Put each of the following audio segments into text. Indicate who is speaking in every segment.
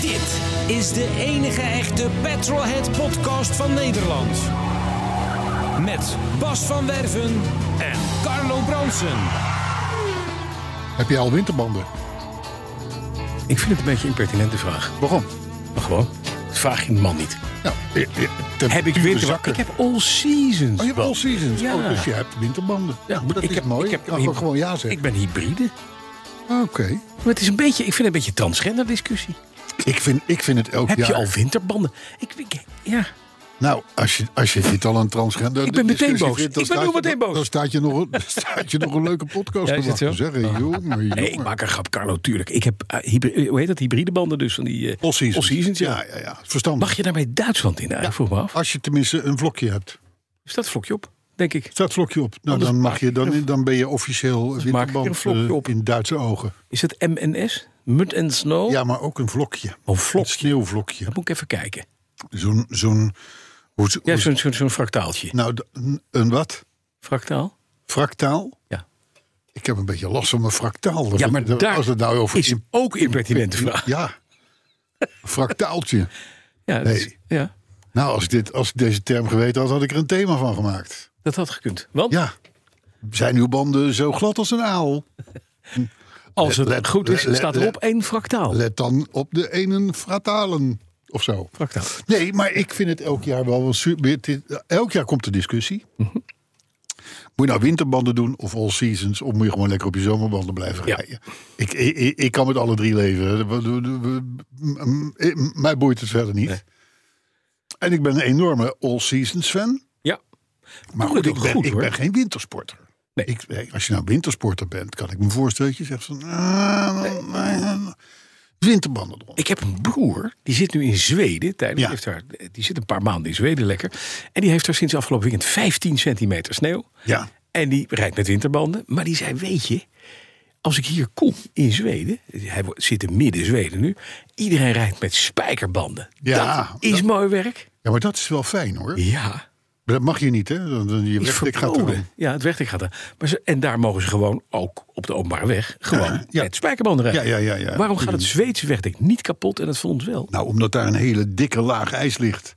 Speaker 1: Dit is de enige echte Petrolhead podcast van Nederland. Met Bas van Werven en Carlo Bronsen.
Speaker 2: Heb je al winterbanden?
Speaker 3: Ik vind het een beetje een impertinente vraag.
Speaker 2: Waarom?
Speaker 3: Maar gewoon, dat vraag je een man niet.
Speaker 2: Nou, eh, eh, temperaturen
Speaker 3: Heb ik winter?
Speaker 2: zakken.
Speaker 3: Ik heb all seasons.
Speaker 2: Oh, je hebt all seasons.
Speaker 3: Ja.
Speaker 2: Oh, dus je hebt winterbanden.
Speaker 3: Ja,
Speaker 2: maar dat
Speaker 3: ik
Speaker 2: is
Speaker 3: heb-
Speaker 2: mooi.
Speaker 3: ik heb-
Speaker 2: Laten we gewoon ja
Speaker 3: Ik
Speaker 2: zeggen. Ah,
Speaker 3: ben hybride.
Speaker 2: Oké.
Speaker 3: Maar het is een beetje, ik vind het een beetje een transgender discussie.
Speaker 2: Ik, vind, ik vind het elk
Speaker 3: Heb
Speaker 2: jaar...
Speaker 3: je al winterbanden? Ik, ik- ja.
Speaker 2: Nou, als je, als je dit al een transgender...
Speaker 3: Ik ben meteen
Speaker 2: discussie
Speaker 3: boos.
Speaker 2: vindt, dan
Speaker 3: Ik ben
Speaker 2: staat
Speaker 3: nu
Speaker 2: je-
Speaker 3: meteen boos.
Speaker 2: Dan staat je nog, een- dan staat je nog een leuke podcast
Speaker 3: Ja,
Speaker 2: te
Speaker 3: is het
Speaker 2: wachten.
Speaker 3: zo? Ah.
Speaker 2: Zeggen, jongen, jongen.
Speaker 3: Nee, ik maak een grap, Carlo, tuurlijk. Ik heb, eh, hybri- eh, hoe heet dat, hybride banden dus? Van die, eh,
Speaker 2: All seasons.
Speaker 3: all seasons, ja.
Speaker 2: ja, ja, ja. Verstandig.
Speaker 3: Mag je daarmee Duitsland in? Ja. Ik vroeg me af.
Speaker 2: Als je tenminste een vlokje hebt.
Speaker 3: Is dat vlokje op, denk ik?
Speaker 2: Staat vlokje op. Nou,
Speaker 3: Anders
Speaker 2: dan,
Speaker 3: maak
Speaker 2: mag
Speaker 3: je
Speaker 2: je,
Speaker 3: er
Speaker 2: dan, dan ben je officieel
Speaker 3: ik er
Speaker 2: winterband
Speaker 3: een vlokje
Speaker 2: eh,
Speaker 3: op.
Speaker 2: in Duitse ogen.
Speaker 3: Is het MNS? Mud and Snow?
Speaker 2: Ja, maar ook een vlokje.
Speaker 3: Oh, vlokje.
Speaker 2: Een sneeuwvlokje.
Speaker 3: Dat moet ik even kijken.
Speaker 2: Zo'n... zo'n hoe,
Speaker 3: Ja,
Speaker 2: hoe-
Speaker 3: zo'n zo'n zo'n fractaaltje.
Speaker 2: Nou, d- een- een wat?
Speaker 3: Fractaal?
Speaker 2: Fractaal?
Speaker 3: Ja.
Speaker 2: Ik heb een beetje last van mijn fractaal.
Speaker 3: Ja, maar
Speaker 2: Dat-
Speaker 3: daar
Speaker 2: als het nou over
Speaker 3: is
Speaker 2: in-
Speaker 3: ook impertinente vraag.
Speaker 2: Ja. Fractaaltje.
Speaker 3: Ja, dat,
Speaker 2: Nee.
Speaker 3: is- ja,
Speaker 2: Nou, als ik, dit, als ik deze term geweten had, had ik er een thema van gemaakt.
Speaker 3: dat had gekund. Want
Speaker 2: Ja. Zijn uw banden zo glad als een aal?
Speaker 3: als het
Speaker 2: let-
Speaker 3: goed is,
Speaker 2: let-
Speaker 3: staat
Speaker 2: let-
Speaker 3: erop één fractaal.
Speaker 2: Let dan op de ene fratalen of zo.
Speaker 3: fractaal.
Speaker 2: Nee, maar ik vind het elk jaar wel wel super. het is- Elk jaar komt de discussie.
Speaker 3: Mhm.
Speaker 2: Moet je nou winterbanden doen of all seasons? Of moet je gewoon lekker op je zomerbanden blijven
Speaker 3: Ja.
Speaker 2: rijden? Ik, ik, ik- ik kan met alle drie leven. We- we- we- we- m- eh, m- Mij boeit het verder niet.
Speaker 3: Nee.
Speaker 2: En ik ben een enorme all seasons fan.
Speaker 3: Ja.
Speaker 2: Maar
Speaker 3: Doe
Speaker 2: goed,
Speaker 3: het
Speaker 2: ik
Speaker 3: ook
Speaker 2: ben,
Speaker 3: goed,
Speaker 2: ik
Speaker 3: hoor.
Speaker 2: ben geen wintersporter.
Speaker 3: Nee.
Speaker 2: Ik- eh, als je nou wintersporter bent, kan ik me voorstellen dat je zegt van... ah, eh, winterbanden eronder.
Speaker 3: Ik heb een broer, die zit nu in Zweden. Tijdens,
Speaker 2: Ja.
Speaker 3: heeft daar, die zit een paar maanden in Zweden lekker. En die heeft daar sinds afgelopen weekend 15 centimeter sneeuw.
Speaker 2: Ja.
Speaker 3: En die rijdt met winterbanden. Maar die zei, weet je, als ik hier kom in Zweden... Hij wo- zit in midden Zweden nu. Iedereen rijdt met spijkerbanden.
Speaker 2: Ja,
Speaker 3: dat is
Speaker 2: dat-
Speaker 3: mooi werk.
Speaker 2: ja, maar dat is wel fijn hoor.
Speaker 3: Ja,
Speaker 2: Maar dat mag je niet, hè? Dan- dan- Je
Speaker 3: is
Speaker 2: weg, ik ga
Speaker 3: verboden.
Speaker 2: erom.
Speaker 3: Ja, het wegdek gaat er. Maar ze, en daar mogen ze gewoon, ook op de openbare weg, gewoon
Speaker 2: ja.
Speaker 3: met spijkerbanden rijden.
Speaker 2: Ja, ja, ja, ja.
Speaker 3: Waarom gaat het Zweedse wegdek niet kapot en het van ons wel?
Speaker 2: Nou, omdat daar een hele dikke laag ijs ligt.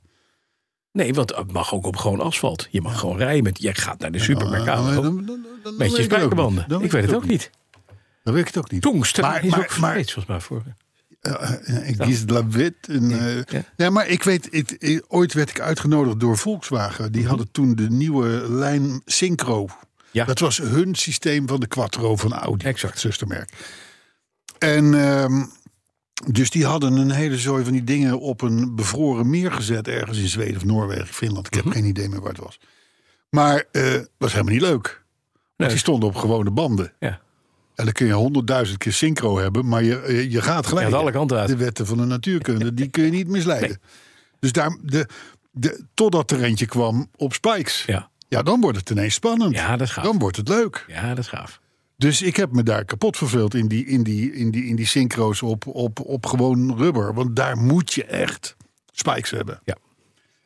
Speaker 3: Nee, want het mag ook op gewoon asfalt. Je mag gewoon rijden met, jij gaat naar de
Speaker 2: Eh,
Speaker 3: supermarkt
Speaker 2: dan-
Speaker 3: aan.
Speaker 2: dan- dan- dan- dan weet
Speaker 3: Met
Speaker 2: ik
Speaker 3: je
Speaker 2: het ook
Speaker 3: spijkerbanden.
Speaker 2: niet. Dan
Speaker 3: ik weet het ook niet.
Speaker 2: Dan weet ik het ook niet.
Speaker 3: Tongsten
Speaker 2: maar,
Speaker 3: is
Speaker 2: maar,
Speaker 3: ook
Speaker 2: maar,
Speaker 3: Zweeds, volgens mij. Voor.
Speaker 2: eh, eh, ik kies La Wit. En, eh,
Speaker 3: ja.
Speaker 2: ja, maar ik weet, ik- ik- ooit werd ik uitgenodigd door Volkswagen. Die hadden toen de nieuwe lijn Synchro.
Speaker 3: Mhm. Ja.
Speaker 2: Dat was hun systeem van de Quattro van Audi.
Speaker 3: Exact.
Speaker 2: Zustermerk. En ehm, dus die hadden een hele zooi van die dingen op een bevroren meer gezet. Ergens in Zweden of Noorwegen, Finland. Ik heb
Speaker 3: Mhm.
Speaker 2: geen idee meer waar het was. Maar eh was helemaal niet leuk.
Speaker 3: Nee.
Speaker 2: Want die stonden op gewone banden.
Speaker 3: Ja.
Speaker 2: En dan kun je honderdduizend keer synchro hebben, maar je, eh, je gaat gelijk.
Speaker 3: alle kanten uit.
Speaker 2: De wetten van de natuurkunde, die kun je niet misleiden. Dus daar, de, de, totdat er eentje kwam op spikes.
Speaker 3: Ja.
Speaker 2: dan wordt het ineens spannend.
Speaker 3: Ja, dat is gaaf.
Speaker 2: Dan wordt het leuk.
Speaker 3: ja, dat is gaaf.
Speaker 2: Dus ik heb me daar kapot verveeld in die, in die, in die, in die synchro's op, op, op gewoon rubber. Want daar moet je echt spikes hebben.
Speaker 3: Ja.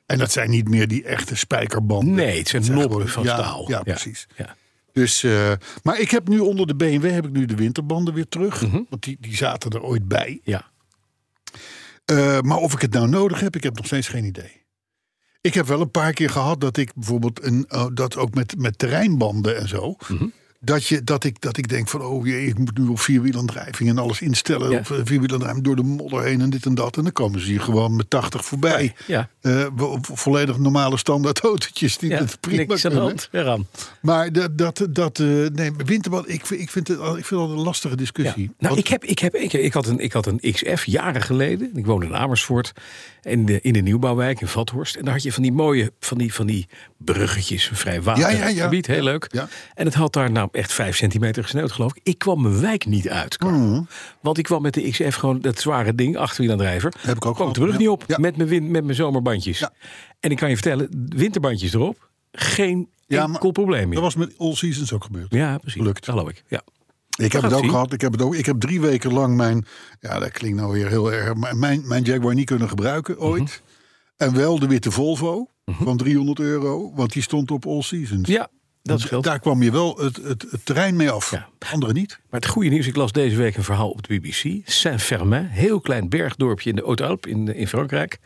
Speaker 2: En dat zijn niet meer die echte spijkerbanden.
Speaker 3: Nee, het zijn
Speaker 2: Dat
Speaker 3: nobben
Speaker 2: gewoon-
Speaker 3: van
Speaker 2: ja,
Speaker 3: staal.
Speaker 2: Ja, precies.
Speaker 3: Ja.
Speaker 2: Dus, eh, maar ik heb nu onder de BMW heb ik nu de winterbanden weer terug.
Speaker 3: Mhm.
Speaker 2: Want die, die zaten er ooit bij.
Speaker 3: ja.
Speaker 2: Eh, maar of ik het nou nodig heb, ik heb nog steeds geen idee. Ik heb wel een paar keer gehad dat ik bijvoorbeeld een, eh, dat ook met, met terreinbanden en zo.
Speaker 3: Mhm.
Speaker 2: Dat, je, dat, ik, dat ik denk van, oh jee, ik moet nu op vierwielaandrijving en alles instellen.
Speaker 3: Ja.
Speaker 2: Of eh, vierwielaandrijving door de modder heen en dit en dat. En dan komen ze hier gewoon met 80 voorbij.
Speaker 3: Ja.
Speaker 2: Eh, vo- vo- volledig normale standaard autootjes die
Speaker 3: ja.
Speaker 2: het prima
Speaker 3: Niks aan de
Speaker 2: kunnen.
Speaker 3: hand. Eraan.
Speaker 2: Maar dat, dat, dat eh, nee, winterband, ik, vind- ik vind het al- ik vind dat een lastige discussie.
Speaker 3: Ja. Nou,
Speaker 2: Want-
Speaker 3: ik, heb, ik, heb, ik, ik, had een, ik had een XF jaren geleden. Ik woonde in Amersfoort. In de, in de nieuwbouwwijk in Vathorst. En daar had je van die mooie van die, van die bruggetjes. Een vrij watergebied.
Speaker 2: Ja, ja, ja.
Speaker 3: Heel leuk.
Speaker 2: Ja.
Speaker 3: En het had daar nou, echt vijf centimeter gesneeuwd, geloof ik. Ik kwam mijn wijk niet uit. Carlo.
Speaker 2: Mm.
Speaker 3: Want ik kwam met de XF gewoon dat zware ding, achterwielaandrijver.
Speaker 2: Heb ik ook
Speaker 3: Kwam
Speaker 2: gehad,
Speaker 3: de brug
Speaker 2: ja.
Speaker 3: niet op
Speaker 2: Ja.
Speaker 3: met, mijn win- met mijn zomerbandjes.
Speaker 2: Ja.
Speaker 3: En ik kan je vertellen, winterbandjes erop, geen
Speaker 2: Ja, maar
Speaker 3: enkel probleem meer.
Speaker 2: Dat was met All Seasons ook gebeurd.
Speaker 3: Ja, precies.
Speaker 2: Lukt.
Speaker 3: Dat geloof ik. Ja.
Speaker 2: Ik heb
Speaker 3: gaat
Speaker 2: het ook
Speaker 3: ie.
Speaker 2: gehad. Ik heb, het ook, ik heb drie weken lang mijn. Ja, dat klinkt nou weer heel erg. maar Mijn, mijn Jaguar niet kunnen
Speaker 3: Mhm.
Speaker 2: gebruiken ooit. En wel de witte Volvo van 300 euro. Want die stond op All Seasons.
Speaker 3: ja, dat scheelt.
Speaker 2: Daar kwam je wel het, het, het terrein mee af.
Speaker 3: Ja.
Speaker 2: Andere niet.
Speaker 3: Maar het goede nieuws, ik las deze week een verhaal op de BBC. Saint-Fermain, heel klein bergdorpje in de Haute-Alpes in, eh, in Frankrijk.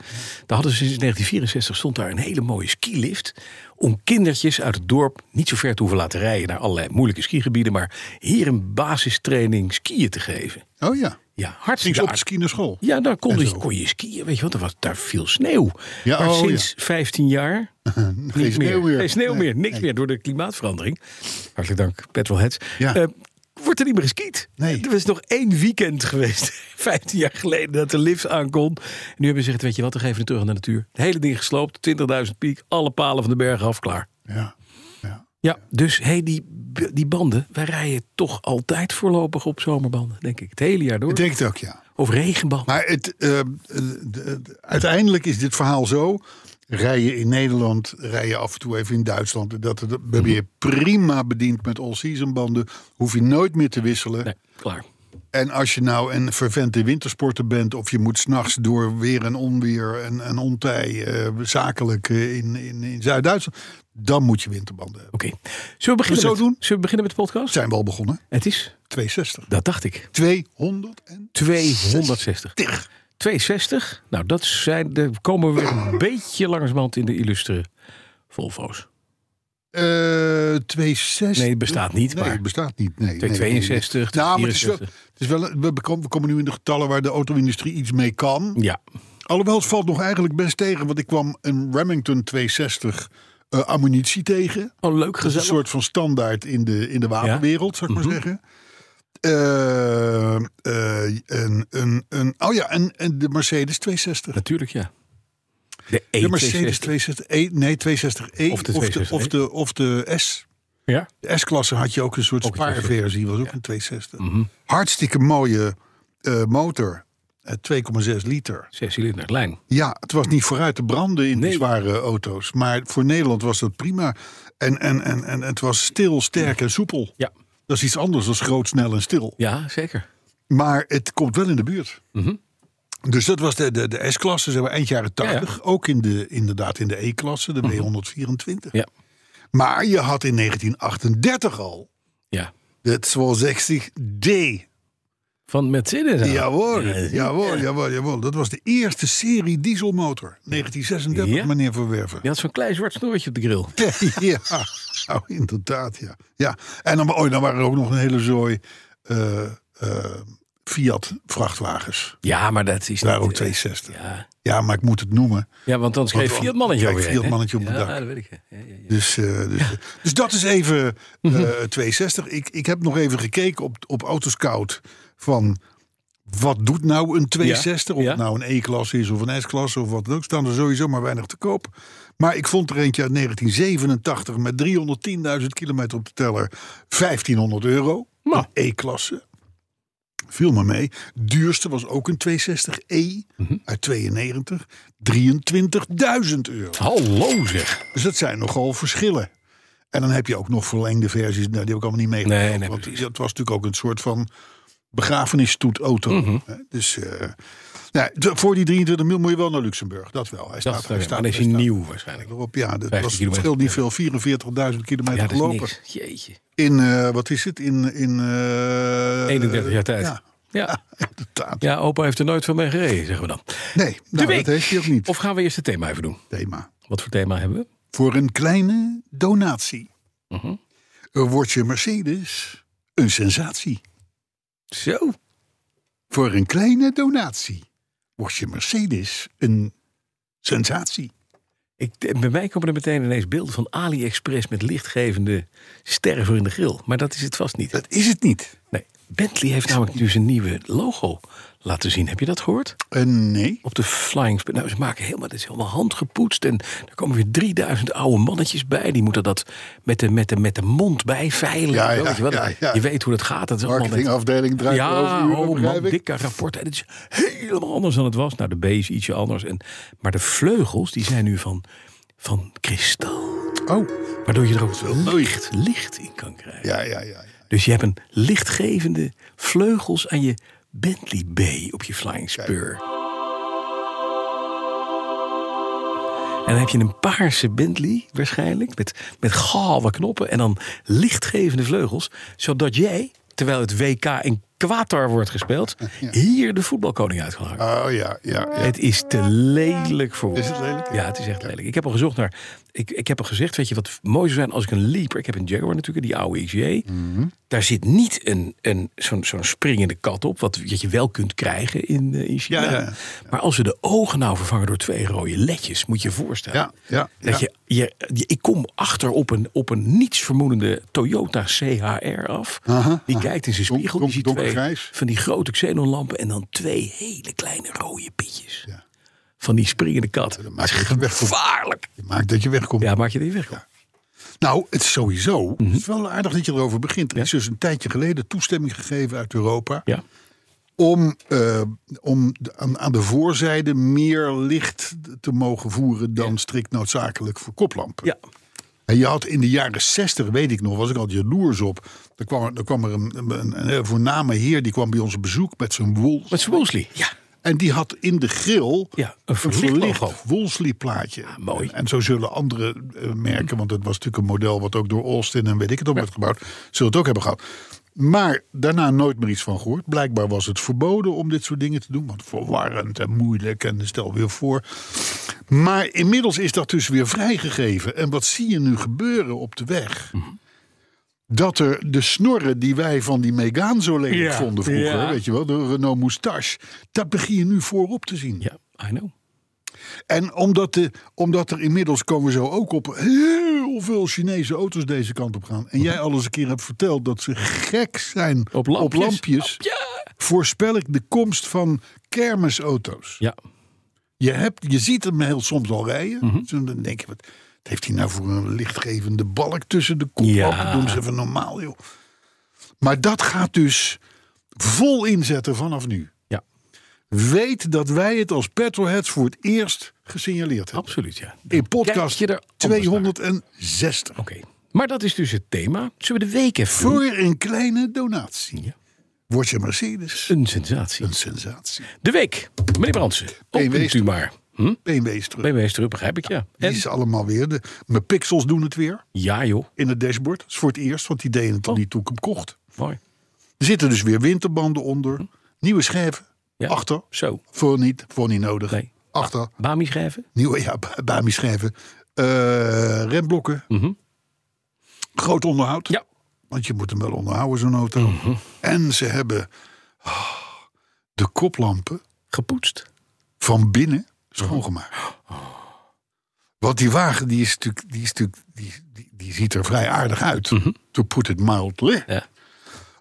Speaker 3: Daar hadden ze sinds 1964 stond daar een hele mooie skilift. Om kindertjes uit het dorp niet zo ver te hoeven laten rijden naar allerlei moeilijke skigebieden. Maar hier een basistraining skiën te geven.
Speaker 2: Oh ja.
Speaker 3: Ja,
Speaker 2: Ging
Speaker 3: hartstikke
Speaker 2: ze op de
Speaker 3: aardig.
Speaker 2: ski naar school.
Speaker 3: Ja, daar kon,
Speaker 2: En
Speaker 3: je,
Speaker 2: zo.
Speaker 3: kon je skiën. Weet je wat, er was daar veel sneeuw.
Speaker 2: Ja,
Speaker 3: maar
Speaker 2: oh,
Speaker 3: sinds 15 jaar
Speaker 2: Geen
Speaker 3: niks
Speaker 2: sneeuw meer.
Speaker 3: Geen sneeuw
Speaker 2: Nee,
Speaker 3: meer. Niks
Speaker 2: nee.
Speaker 3: meer door de klimaatverandering. Hartelijk dank, petrolheads.
Speaker 2: Ja.
Speaker 3: Eh, wordt er niet meer geskiet.
Speaker 2: Nee.
Speaker 3: Er was nog één weekend geweest, 15 jaar geleden, dat de lift aankon. En nu hebben ze gezegd, weet je wat, we geven het terug aan de natuur. Het hele ding gesloopt, 20.000 piek, alle palen van de bergen af, klaar.
Speaker 2: Ja. ja.
Speaker 3: Ja, dus hey, die, b- die banden, wij rijden toch altijd voorlopig op zomerbanden, denk ik. Het hele jaar door.
Speaker 2: Ik denk het ook, ja.
Speaker 3: Of regenbanden.
Speaker 2: Maar het, eh, eh, de- de- uiteindelijk is dit verhaal zo. Rij je in Nederland, rij je af en toe even in Duitsland. Dat, dat ben je prima bediend met all-season banden. Hoef je nooit meer te wisselen.
Speaker 3: Nee, klaar.
Speaker 2: En als je nou een vervente wintersporter bent... of je moet s'nachts door weer en onweer en, en ontij... eh, zakelijk eh, in, in, in Zuid-Duitsland... dan moet je winterbanden hebben.
Speaker 3: Oké. Zullen we beginnen
Speaker 2: zo
Speaker 3: met-
Speaker 2: doen?
Speaker 3: Zullen we beginnen met de podcast?
Speaker 2: Zijn we al begonnen?
Speaker 3: Het is,
Speaker 2: 260.
Speaker 3: dat dacht ik,
Speaker 2: 200 en...
Speaker 3: 260.
Speaker 2: 60.
Speaker 3: 260. Nou, dat zijn, daar komen we weer een beetje langzamerhand in de illustre Volvo's.
Speaker 2: Eh, 260.
Speaker 3: Nee, het bestaat niet,
Speaker 2: Nee,
Speaker 3: maar-
Speaker 2: het bestaat niet. Nee, nee,
Speaker 3: 262,
Speaker 2: nee. Nou, maar het is wel,
Speaker 3: 264.
Speaker 2: het is wel, een- we, komen, we komen nu in de getallen waar de auto-industrie iets mee kan.
Speaker 3: Ja.
Speaker 2: Alhoewel, het valt nog eigenlijk best tegen. Want ik kwam een Remington 260 eh, ammunitie tegen.
Speaker 3: Oh, leuk
Speaker 2: Dat is een
Speaker 3: gezellig.
Speaker 2: soort van standaard in de, in de wapenwereld, zou ik
Speaker 3: Mhm.
Speaker 2: maar zeggen. Eh, eh, een, een, een, oh ja, en, en de Mercedes 260.
Speaker 3: Natuurlijk, ja. De
Speaker 2: De Mercedes
Speaker 3: E260.
Speaker 2: 260, E, nee, 260E
Speaker 3: E Of de E.
Speaker 2: of de, of de, of de S.
Speaker 3: Ja.
Speaker 2: De S-klasse had je ook een soort
Speaker 3: Ook een
Speaker 2: spaarversie, was ook een 260.
Speaker 3: Mhm.
Speaker 2: Hartstikke mooie eh, motor, Eh, 2,6 liter.
Speaker 3: Zes cilinder, lijn.
Speaker 2: Ja, het was niet vooruit te branden in
Speaker 3: Nee.
Speaker 2: die zware auto's. Maar voor Nederland was dat prima. En, en, en, en het was stil, sterk en soepel.
Speaker 3: Ja.
Speaker 2: Dat is iets anders dan groot, snel en stil.
Speaker 3: Ja, zeker.
Speaker 2: Maar het komt wel in de buurt. Dus dat was de, de, de S-klasse, zeg maar, eind jaren
Speaker 3: Mhm. ja. Mhm.
Speaker 2: 80. Ook in de, inderdaad in de E-klasse, de W124.
Speaker 3: Ja.
Speaker 2: Maar je had in 1938 al
Speaker 3: Ja.
Speaker 2: de 260D.
Speaker 3: Van Mercedes. aan.
Speaker 2: Jawohl,
Speaker 3: Ja.
Speaker 2: jawohl, jawohl, jawohl. Dat was de eerste serie dieselmotor. 1936,
Speaker 3: Ja.
Speaker 2: meneer Verwerven.
Speaker 3: Je had zo'n klein zwart snoertje op de grill.
Speaker 2: Ja, nou, inderdaad, ja. ja. En dan, oh, dan waren er ook nog een hele zooi eh, eh, Fiat-vrachtwagens.
Speaker 3: Ja, maar dat is
Speaker 2: Daar ook
Speaker 3: eh,
Speaker 2: 260. Ja.
Speaker 3: Ja.
Speaker 2: maar ik moet het noemen.
Speaker 3: ja, want dan schreef
Speaker 2: Want-
Speaker 3: Fiat mannetje
Speaker 2: Kijk,
Speaker 3: over
Speaker 2: Fiat mannetje op
Speaker 3: ja,
Speaker 2: het dak.
Speaker 3: dat weet ik. Ja, ja, ja. Mhm.
Speaker 2: Dus, eh, dus, dus dat is even eh 260. Ik, ik heb nog even gekeken op, op Autoscout van wat doet nou een 260?
Speaker 3: Ja,
Speaker 2: Of
Speaker 3: ja.
Speaker 2: het nou een E-klasse is of een S-klasse of wat dan ook. Staan er sowieso maar weinig te koop. Maar ik vond er eentje uit 1987 met 310.000 kilometer op de teller. 1500 euro.
Speaker 3: Nou.
Speaker 2: Een E-klasse. Viel me mee. Duurste was ook een 260e
Speaker 3: Mhm.
Speaker 2: uit 92. 23.000 euro.
Speaker 3: Hallo zeg.
Speaker 2: Dus dat zijn nogal verschillen. En dan heb je ook nog verlengde versies. Nou, die heb ik allemaal niet meegemaakt.
Speaker 3: Nee, nee,
Speaker 2: want
Speaker 3: precies.
Speaker 2: dat was natuurlijk ook een soort van begrafenisstoetauto.
Speaker 3: Mhm.
Speaker 2: hè. Dus eh, nou, d- voor die 23 mil moet je wel naar Luxemburg. Dat wel. Hij
Speaker 3: Dat
Speaker 2: staat,
Speaker 3: is,
Speaker 2: hij
Speaker 3: ja,
Speaker 2: staat,
Speaker 3: maar dan is
Speaker 2: hij
Speaker 3: hij
Speaker 2: staat
Speaker 3: nieuw waarschijnlijk.
Speaker 2: erop. Ja, dat
Speaker 3: 15
Speaker 2: was, het
Speaker 3: kilometer.
Speaker 2: scheelt niet veel. 44.000 kilometer
Speaker 3: Ja, dat is
Speaker 2: gelopen.
Speaker 3: niks. Jeetje.
Speaker 2: In, eh, wat is het? In, in eh,
Speaker 3: 31 jaar tijd.
Speaker 2: Ja,
Speaker 3: Ja.
Speaker 2: inderdaad.
Speaker 3: ja, opa heeft er nooit van mee gereden, zeggen we dan.
Speaker 2: Nee, nou,
Speaker 3: week.
Speaker 2: dat heeft hij ook niet.
Speaker 3: Of gaan we eerst het thema even doen?
Speaker 2: thema.
Speaker 3: Wat voor thema hebben we?
Speaker 2: Voor een kleine donatie
Speaker 3: Mhm.
Speaker 2: eh, wordt je Mercedes een sensatie.
Speaker 3: Zo.
Speaker 2: Voor een kleine donatie wordt je Mercedes een sensatie.
Speaker 3: Ik, bij mij komen er meteen ineens beelden van AliExpress met lichtgevende sterren voor in de grill. Maar dat is het vast niet.
Speaker 2: Dat is het niet.
Speaker 3: Nee. Bentley heeft namelijk nu zijn nieuwe logo laten zien. Heb je dat gehoord?
Speaker 2: Eh, nee.
Speaker 3: Op de Flying Spin. Nou, ze maken helemaal, dit is helemaal handgepoetst. En er komen weer 3000 oude mannetjes bij. Die moeten dat met de, met de, met de mond bijveilen.
Speaker 2: Ja,
Speaker 3: Weet
Speaker 2: ja,
Speaker 3: je, wel?
Speaker 2: ja, ja.
Speaker 3: je weet hoe dat gaat. Dat is allemaal met-
Speaker 2: Marketingafdeling draait
Speaker 3: ja,
Speaker 2: over uren,
Speaker 3: oh man,
Speaker 2: begrijp ik.
Speaker 3: dikke rapporten. En het is helemaal anders dan het was. Nou, de B is ietsje anders. En, maar de vleugels, die zijn nu van, van kristal.
Speaker 2: Oh,
Speaker 3: Waardoor je er ook licht, licht in kan krijgen.
Speaker 2: ja, ja, ja. ja.
Speaker 3: Dus je hebt een lichtgevende vleugels aan je Bentley B op je Flying Spur. En dan heb je een paarse Bentley waarschijnlijk, met, met gave knoppen en dan lichtgevende vleugels. Zodat jij, terwijl het WK in Qatar wordt gespeeld, hier de voetbalkoning uit kan hangen.
Speaker 2: Oh ja, ja. ja.
Speaker 3: Het is te lelijk voor woorden.
Speaker 2: Is het lelijk?
Speaker 3: Ja, het is echt lelijk. Ik heb al gezocht naar. Ik, ik heb al gezegd, weet je wat mooi zou zijn als ik een Leaper. Ik heb een Jaguar natuurlijk, die oude XJ.
Speaker 2: Mhm.
Speaker 3: Daar zit niet een, een, zo'n, zo'n springende kat op. Wat, wat je wel kunt krijgen in, eh, in China.
Speaker 2: Ja, ja, ja.
Speaker 3: Maar als ze de ogen nou vervangen door twee rode ledjes, moet je je voorstellen.
Speaker 2: Ja, ja,
Speaker 3: dat
Speaker 2: ja.
Speaker 3: Je, je, je- ik kom achter op een, op een nietsvermoedende Toyota CHR af.
Speaker 2: Aha,
Speaker 3: die kijkt in zijn
Speaker 2: Donk-
Speaker 3: spiegel.
Speaker 2: donk-
Speaker 3: die ziet twee
Speaker 2: donkergrijs.
Speaker 3: van die grote xenonlampen en dan twee hele kleine rode pitjes.
Speaker 2: Ja.
Speaker 3: Van die springende kat.
Speaker 2: maak je het weg voor-
Speaker 3: Gevaarlijk.
Speaker 2: Je maakt dat je wegkomt.
Speaker 3: Ja, Mhm. maak je die weg. hoor.
Speaker 2: Nou, het is sowieso. Het is wel aardig dat je erover begint. Er is dus een tijdje geleden toestemming gegeven uit Europa.
Speaker 3: Ja.
Speaker 2: om, eh, om de- aan, aan de voorzijde meer licht te mogen voeren dan strikt noodzakelijk voor koplampen.
Speaker 3: Ja.
Speaker 2: En je had in de jaren 60, weet ik nog, was ik al jaloers op. Er kwam, er- er kwam er een, een, een heel voorname heer, die kwam bij ons op bezoek met zijn wol.
Speaker 3: Met Wolseley. Ja.
Speaker 2: En die had in de grill
Speaker 3: Ja, een verlicht logo.
Speaker 2: Wolseley plaatje.
Speaker 3: mooi.
Speaker 2: En, en zo zullen andere eh, merken, want het was natuurlijk een model wat ook door Austin en weet ik het op werd gebouwd, zullen het ook hebben gehad. Maar daarna nooit meer iets van gehoord. Blijkbaar was het verboden om dit soort dingen te doen, want verwarrend en moeilijk en stel weer voor. Maar inmiddels is dat dus weer vrijgegeven. En wat zie je nu gebeuren op de weg?
Speaker 3: Mhm.
Speaker 2: Dat er de snorren die wij van die Megane zo lelijk
Speaker 3: Ja,
Speaker 2: vonden vroeger,
Speaker 3: ja.
Speaker 2: weet je wel, de Renault Moustache, dat begin je nu voorop te zien.
Speaker 3: Ja, I know.
Speaker 2: En omdat, de, omdat er inmiddels komen we zo ook op heel veel Chinese auto's deze kant op gaan. En jij al eens een keer hebt verteld dat ze gek zijn
Speaker 3: Op lampjes.
Speaker 2: Ja. Voorspel ik de komst van kermisauto's.
Speaker 3: Ja.
Speaker 2: Je, hebt, je ziet hem heel soms al rijden.
Speaker 3: Mhm.
Speaker 2: Dus dan denk je, wat wat heeft hij nou voor een lichtgevende balk tussen de koplappen?
Speaker 3: Ja.
Speaker 2: Doen ze even normaal, joh. Maar dat gaat dus vol inzetten vanaf nu.
Speaker 3: Ja.
Speaker 2: Weet dat wij het als petrolheads voor het eerst gesignaleerd hebben.
Speaker 3: Absoluut, ja.
Speaker 2: In podcast
Speaker 3: Kijk je er anders naar.
Speaker 2: 260.
Speaker 3: Oké. Maar dat is dus het thema. Zullen we de week even doen?
Speaker 2: Voor een kleine donatie.
Speaker 3: Ja.
Speaker 2: Word je Mercedes.
Speaker 3: Een sensatie.
Speaker 2: Een sensatie.
Speaker 3: De week. Meneer Brandsen. Opent u
Speaker 2: Weestrup.
Speaker 3: maar. Hm?
Speaker 2: BMW is terug.
Speaker 3: BMW is terug, begrijp ik, ja.
Speaker 2: Die
Speaker 3: En?
Speaker 2: is allemaal weer. De, mijn pixels doen het weer.
Speaker 3: Ja, joh.
Speaker 2: in het dashboard. Dat is voor het eerst, want die deden het
Speaker 3: Oh.
Speaker 2: al niet toen ik hem kocht.
Speaker 3: Mooi.
Speaker 2: Er zitten dus weer winterbanden onder. Nieuwe schijven.
Speaker 3: Hm? Ja.
Speaker 2: Achter.
Speaker 3: Zo.
Speaker 2: Voor niet, voor niet nodig.
Speaker 3: Nee.
Speaker 2: Achter.
Speaker 3: Bami schrijven?
Speaker 2: Nieuwe, ja, ba- Bami schijven. Eh, remblokken. Groot onderhoud.
Speaker 3: Mhm. Ja. Mhm.
Speaker 2: Want je moet hem wel onderhouden, zo'n auto. En ze hebben ah, de koplampen
Speaker 3: Gepoetst.
Speaker 2: van binnen schoongemaakt.
Speaker 3: Oh.
Speaker 2: Want die wagen die is natuurlijk, die, is natuurlijk die, die, die ziet er vrij aardig uit. To put it mildly.
Speaker 3: Mhm. Ja.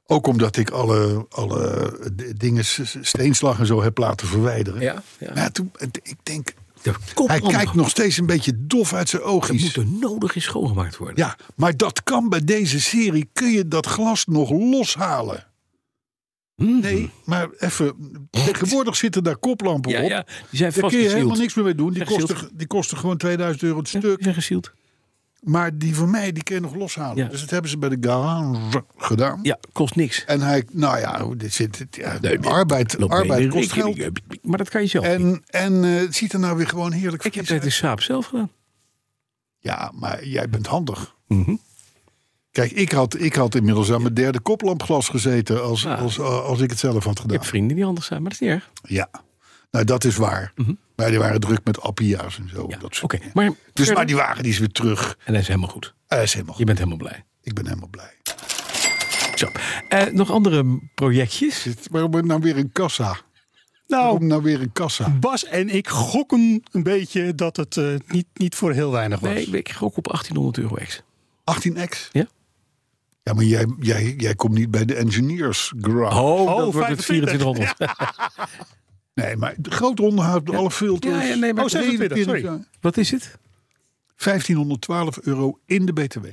Speaker 2: Ook omdat ik alle, alle eh, d- dingen, s- s- steenslag en zo heb laten verwijderen.
Speaker 3: Ja, ja.
Speaker 2: Maar toen, het- ik denk,
Speaker 3: De
Speaker 2: hij
Speaker 3: koplamp.
Speaker 2: kijkt nog steeds een beetje dof uit zijn
Speaker 3: Dat moet
Speaker 2: oogjes.
Speaker 3: er nodig in schoongemaakt worden.
Speaker 2: Ja, maar dat kan bij deze serie. Kun je dat glas nog loshalen?
Speaker 3: Hm.
Speaker 2: Nee, maar even. Tegenwoordig zitten daar koplampen
Speaker 3: Ja,
Speaker 2: op.
Speaker 3: ja. Die zijn
Speaker 2: Daar kun je helemaal
Speaker 3: vastgezield.
Speaker 2: niks meer mee doen. Die
Speaker 3: Zeg, Sielt.
Speaker 2: kosten, die kosten gewoon 2000 euro het
Speaker 3: Die
Speaker 2: stuk.
Speaker 3: zijn gesield.
Speaker 2: Maar die van mij, die kun je nog loshalen.
Speaker 3: Ja.
Speaker 2: Dus dat hebben ze bij de garage gedaan.
Speaker 3: Ja, kost niks.
Speaker 2: En hij, nou ja, hoe dit zit, dit- ja,
Speaker 3: Nee, dit
Speaker 2: arbeid,
Speaker 3: Loopt mee in
Speaker 2: arbeid
Speaker 3: de
Speaker 2: kost
Speaker 3: rekening.
Speaker 2: geld.
Speaker 3: Maar dat kan je zelf niet.
Speaker 2: En, en eh, het ziet er nou weer gewoon heerlijk
Speaker 3: Ik heb
Speaker 2: fris
Speaker 3: het in Saab zelf gedaan.
Speaker 2: Ja, maar jij bent handig.
Speaker 3: Mhm.
Speaker 2: Kijk, ik had, ik had inmiddels aan mijn derde koplampglas gezeten als,
Speaker 3: Ah.
Speaker 2: als, eh, als ik het zelf had
Speaker 3: Ik
Speaker 2: gedaan.
Speaker 3: heb vrienden die anders zijn, maar dat is niet erg.
Speaker 2: Ja, nou dat is waar. Maar die waren druk met appia's en zo.
Speaker 3: Mhm. Ja,
Speaker 2: Dat soort
Speaker 3: Oké,
Speaker 2: dingen.
Speaker 3: maar,
Speaker 2: Dus
Speaker 3: verder-
Speaker 2: maar die wagen die is weer terug.
Speaker 3: En dat is helemaal goed.
Speaker 2: Hij is helemaal
Speaker 3: Je bent helemaal blij.
Speaker 2: Ik ben helemaal blij.
Speaker 3: Zo. Eh, nog andere projectjes?
Speaker 2: Dit- Waarom nou weer een kassa?
Speaker 4: Nou,
Speaker 2: Waarom nou weer een kassa?
Speaker 4: Bas en ik gokken een beetje dat het eh, niet, niet voor heel weinig was.
Speaker 2: Oh,
Speaker 3: Nee, ik gok op 1800 euro ex.
Speaker 2: 18x?
Speaker 3: Ja.
Speaker 2: Ja, maar jij, jij, jij komt niet bij de engineers graph.
Speaker 3: Oh,
Speaker 4: Oh,
Speaker 3: dat wordt het
Speaker 4: 25.
Speaker 3: 2400.
Speaker 2: Nee, maar de groot onderhoud, alle filters.
Speaker 3: Ja, ja, nee, maar-
Speaker 4: Oh, 26, sorry.
Speaker 2: 21,
Speaker 3: Wat is het?
Speaker 2: 1512 euro in de BTW.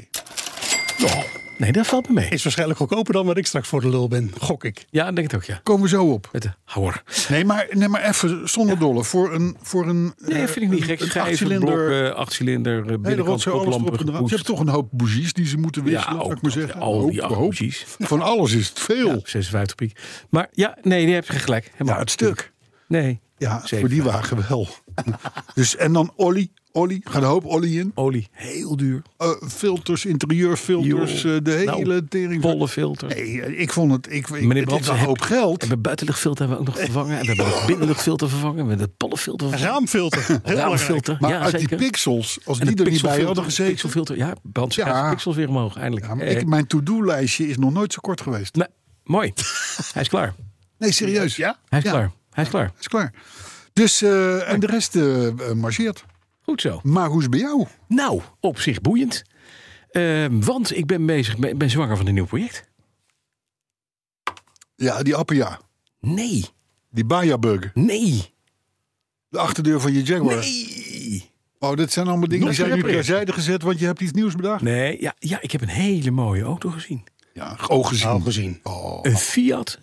Speaker 3: Nee, dat valt me mee.
Speaker 4: Is waarschijnlijk goedkoper dan wat ik straks voor de lul ben, gok ik.
Speaker 3: Ja, ik denk het ook, ja.
Speaker 2: Komen we zo op.
Speaker 3: Met de houwer.
Speaker 2: Nee, maar, nee, maar even zonder dolle. Voor een, voor een
Speaker 3: Nee,
Speaker 2: eh,
Speaker 3: vind ik niet gek.
Speaker 2: Een, een
Speaker 3: Schijven,
Speaker 2: achtcilinder,
Speaker 3: blokken, achtcilinder, eh,
Speaker 2: hele
Speaker 3: binnenkant,
Speaker 2: rotzooi, alles erop
Speaker 3: koplampen,
Speaker 2: en eraan. Ze
Speaker 3: gepoetst.
Speaker 2: hebben toch een hoop bougies die ze moeten
Speaker 3: Ja,
Speaker 2: wisselen, zou
Speaker 3: ook
Speaker 2: ik maar
Speaker 3: dat,
Speaker 2: zeggen.
Speaker 3: ja, al die
Speaker 2: Hoop,
Speaker 3: acht
Speaker 2: hoop.
Speaker 3: bougies.
Speaker 2: Van alles is het veel.
Speaker 3: Ja, 56 piek. Maar ja, nee, je hebt gelijk. Helemaal.
Speaker 2: Ja, het stuk.
Speaker 3: Nee,
Speaker 2: Ja,
Speaker 3: Zeven.
Speaker 2: voor die wagen wel. dus, en dan olie. Olie, gaat een hoop olie in.
Speaker 3: olie, heel duur.
Speaker 2: Eh, filters, interieurfilters,
Speaker 3: Joh.
Speaker 2: eh, de
Speaker 3: Nou,
Speaker 2: hele tering.
Speaker 3: Pollenfilter.
Speaker 2: Nee, eh, ik vond het. Ik, ik,
Speaker 3: Meneer
Speaker 2: het is
Speaker 3: Brandsen,
Speaker 2: een
Speaker 3: heb-
Speaker 2: hoop geld.
Speaker 3: En we buitenluchtfilter hebben we ook nog vervangen. En we hebben het binnenluchtfilter vervangen. We hebben het pollenfilter vervangen.
Speaker 4: Raamfilter, heel belangrijk.
Speaker 3: Raamfilter,
Speaker 2: maar
Speaker 3: ja,
Speaker 2: uit
Speaker 3: zeker.
Speaker 2: die pixels, als
Speaker 3: En
Speaker 2: die
Speaker 3: het
Speaker 2: er niet bij
Speaker 3: pixelfilter,
Speaker 2: hadden gezeten.
Speaker 3: Pixelfilter, ja, brand
Speaker 2: Ja.
Speaker 3: ja. pixels weer omhoog, eindelijk.
Speaker 2: Ja, maar
Speaker 3: Eh,
Speaker 2: ik, mijn to-do-lijstje is nog nooit zo kort geweest.
Speaker 3: nee, mooi. Hij is klaar.
Speaker 2: Nee, serieus. Ja?
Speaker 3: Hij is klaar. Hij is klaar.
Speaker 2: is klaar. Dus, eh, en de rest eh, eh, marcheert.
Speaker 3: Goed zo.
Speaker 2: Maar hoe is het bij jou?
Speaker 3: Nou, op zich boeiend. Ehm, want ik ben bezig, ben, ben zwanger van een nieuw project.
Speaker 2: Ja, die Appia.
Speaker 3: Nee,
Speaker 2: Die Baja Burger.
Speaker 3: nee,
Speaker 2: De achterdeur van je Jaguar.
Speaker 3: nee.
Speaker 2: Oh, dat zijn allemaal dingen
Speaker 3: Nog
Speaker 2: die zijn nu
Speaker 3: scherper is.
Speaker 2: terzijde gezet, want je hebt iets nieuws bedacht.
Speaker 3: Nee, ja, ja, ik heb een hele mooie auto gezien.
Speaker 2: Ja, oog gezien.
Speaker 4: Nou, gezien.
Speaker 2: Oh.
Speaker 3: Een Fiat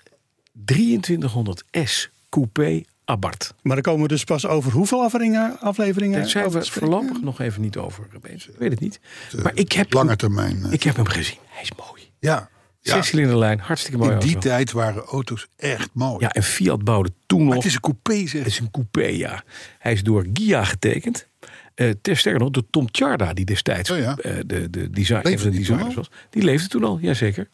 Speaker 3: 2300S Coupé Abarth.
Speaker 4: Maar dan komen we dus pas over hoeveel afleveringen, afleveringen
Speaker 3: Daar zijn
Speaker 4: over
Speaker 3: we
Speaker 4: te spreken?
Speaker 3: voorlopig nog even niet over. bezig. Ik weet het niet. Maar ik heb,
Speaker 2: Lange termijn. eh.
Speaker 3: ik heb hem gezien. Hij is mooi.
Speaker 2: ja. ja.
Speaker 3: Zescilinderlijn, hartstikke mooi.
Speaker 2: In die
Speaker 3: auto.
Speaker 2: tijd waren auto's echt mooi.
Speaker 3: Ja, en Fiat bouwde toen
Speaker 2: maar
Speaker 3: nog.
Speaker 2: het is een coupé,
Speaker 3: Het
Speaker 2: zeg.
Speaker 3: is een coupé, ja. Hij is door Gia getekend. Eh ter sterker nog, door Tom Tjarda, die destijds
Speaker 2: Oh ja.
Speaker 3: eh, de, de, design,
Speaker 2: Leefde
Speaker 3: een van de
Speaker 2: die toen al?
Speaker 3: designers was. Die leefde toen al, jazeker.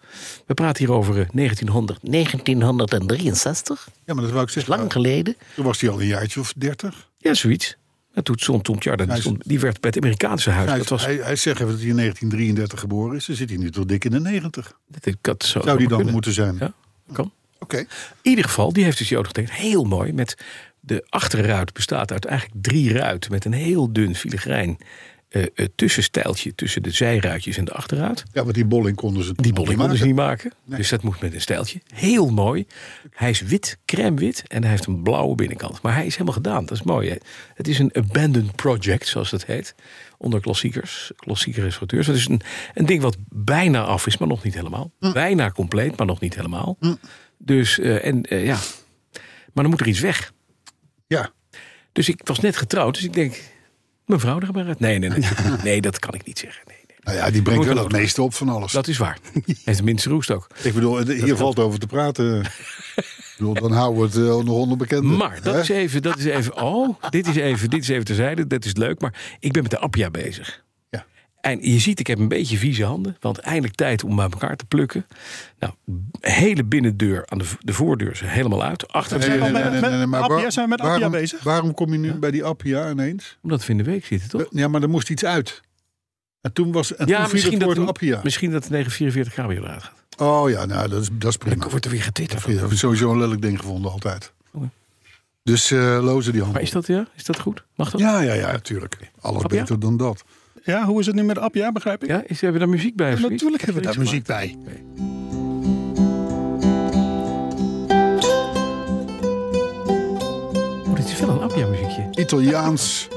Speaker 3: We praten hier over eh, 1900,
Speaker 5: 1963,
Speaker 2: Ja, maar dat wou ik zeggen.
Speaker 5: lang geleden.
Speaker 2: Toen was hij al een jaartje of dertig.
Speaker 3: ja, zoiets. En toen stond Tom Tjarda, die,
Speaker 2: Hij is-
Speaker 3: stond- die werd bij het Amerikaanse huis.
Speaker 2: Hij,
Speaker 3: dat was,
Speaker 2: hij, hij zegt even dat hij in 1933 geboren is. Dan zit hij nu tot dik in de 90.
Speaker 3: dat, dat zou,
Speaker 2: Zou die dan
Speaker 3: kunnen.
Speaker 2: moeten zijn?
Speaker 3: Ja, dat kan.
Speaker 2: Oké.
Speaker 3: In ieder geval, die heeft dus die auto getekend. Heel mooi. Met de achterruit bestaat uit eigenlijk drie ruiten. Met een heel dun filigrijn eh eh, tussenstijltje tussen de zijruitjes en de achterruit.
Speaker 2: Ja, want die bolling konden ze
Speaker 3: Die bolling konden ze niet maken.
Speaker 2: Nee.
Speaker 3: Dus dat moet met een stijltje. Heel mooi. Hij is wit, crème wit. En hij heeft een blauwe binnenkant. Maar hij is helemaal gedaan. Dat is mooi. hè. Het is een abandoned project, zoals dat heet. Onder klassiekers, klassieke restaurateurs. Dat is een, een ding wat bijna af is, maar nog niet helemaal. Bijna compleet, maar nog niet helemaal. Dus, eh, en eh, ja. Maar dan moet er iets weg.
Speaker 2: Ja.
Speaker 3: Dus ik was net getrouwd. Dus ik denk, mijn vrouw er maar uit. Nee, nee, nee. Nee, dat kan ik niet zeggen. Nee, nee.
Speaker 2: Nou ja, die brengt
Speaker 3: Moet
Speaker 2: wel
Speaker 3: wel
Speaker 2: het meeste op van alles.
Speaker 3: Dat is waar. Hij is de minste roest ook.
Speaker 2: ik bedoel, hier valt over te praten. ik bedoel, dan houden we het eh, nog onder bekende.
Speaker 3: Maar dat
Speaker 2: Hè?
Speaker 3: is even, dat is even. Oh, dit is even, dit is even terzijde. Dat is leuk. Maar ik ben met de Appia bezig.
Speaker 2: Ja.
Speaker 3: En je ziet, ik heb een beetje vieze handen. Want eindelijk tijd om bij elkaar te plukken. Nou, hele binnendeur aan de, v- de voordeur is helemaal uit. Achter
Speaker 4: zijn
Speaker 2: Nee,
Speaker 4: al
Speaker 2: nee,
Speaker 4: met-
Speaker 2: nee, nee,
Speaker 4: met
Speaker 2: nee, nee, maar
Speaker 4: Appia,
Speaker 2: waar-
Speaker 4: zijn we met Appia
Speaker 2: waarom,
Speaker 4: bezig?
Speaker 2: Waarom kom je nu bij die Appia ineens?
Speaker 3: Omdat we in de week zitten, toch?
Speaker 2: Ja, maar er moest iets uit. En toen was en toen
Speaker 3: Ja,
Speaker 2: viel
Speaker 3: misschien
Speaker 2: het
Speaker 3: dat,
Speaker 2: woord
Speaker 3: de-
Speaker 2: Appia.
Speaker 3: misschien dat de 944 kW eruit gaat.
Speaker 2: Oh ja, nou, dat is, dat is prima.
Speaker 3: Dan wordt er weer getitterd.
Speaker 2: Ik heb sowieso een lelijk ding gevonden altijd.
Speaker 3: Oké.
Speaker 2: Dus eh lozen die
Speaker 3: Maar
Speaker 2: handen.
Speaker 3: is dat, ja? is dat goed? Mag dat?
Speaker 2: Ja, ja, ja, natuurlijk. Alles
Speaker 3: Appia?
Speaker 2: beter dan dat.
Speaker 4: Ja, hoe is het nu met Appia, begrijp ik?
Speaker 3: Ja, is, hebben we daar muziek bij? of zoiets?
Speaker 4: natuurlijk hebben we daar
Speaker 3: Heb je iets
Speaker 4: muziek bij.
Speaker 3: gemaakt? Nee. Oh, dit is wel een Appia muziekje.
Speaker 2: Italiaans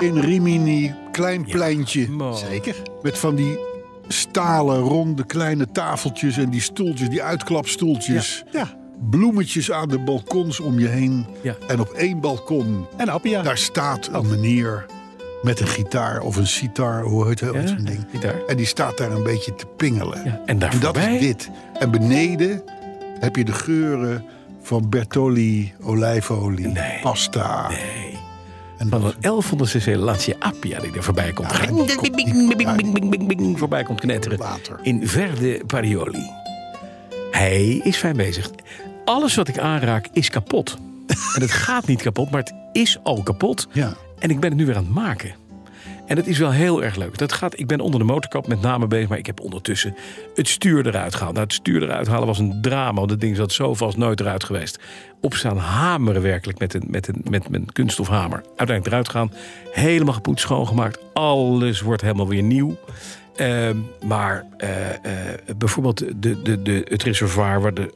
Speaker 2: in Rimini, klein pleintje.
Speaker 3: Mooi.
Speaker 2: Met van die stalen, ronde, kleine tafeltjes en die stoeltjes, die uitklapstoeltjes.
Speaker 4: Ja.
Speaker 2: Bloemetjes aan de balkons om je heen.
Speaker 3: Ja. Oh.
Speaker 2: En op één balkon,
Speaker 4: En Appia.
Speaker 2: daar staat een meneer met een gitaar of een sitar, hoe heet dat
Speaker 3: Ja,
Speaker 2: zo'n ding.
Speaker 3: gitaar.
Speaker 2: En die staat daar een beetje te pingelen.
Speaker 3: Ja, en daar
Speaker 2: en dat
Speaker 3: voorbij-
Speaker 2: is dit. En beneden heb je de geuren van Bertolli, olijfolie, pasta.
Speaker 3: Nee.
Speaker 2: En
Speaker 3: Van
Speaker 2: dat-
Speaker 3: een 1100 cc Lancia Appia die er voorbij komt. gaan.
Speaker 5: Bing, bing, bing, bing, bing, bing, bing, bing.
Speaker 3: voorbij komt knetteren.
Speaker 2: Later.
Speaker 3: In Verde Parioli. Hij is fijn bezig. Alles wat ik aanraak is kapot. en het gaat niet kapot, maar het is al kapot.
Speaker 2: Ja.
Speaker 3: En ik ben het nu weer aan het maken. En dat is wel heel erg leuk. Dat gaat, ik ben onder de motorkap met name bezig, maar ik heb ondertussen het stuur eruit gehaald. Nou, het stuur eruit halen was een drama, want dat ding zat zo vast nooit eruit geweest. Opstaan hameren werkelijk met een, met een, met, met een kunststofhamer. Uiteindelijk eruit gaan, helemaal gepoetst, schoongemaakt. Alles wordt helemaal weer nieuw. Ehm, maar eh, eh, bijvoorbeeld de, de, de, het reservoir waar de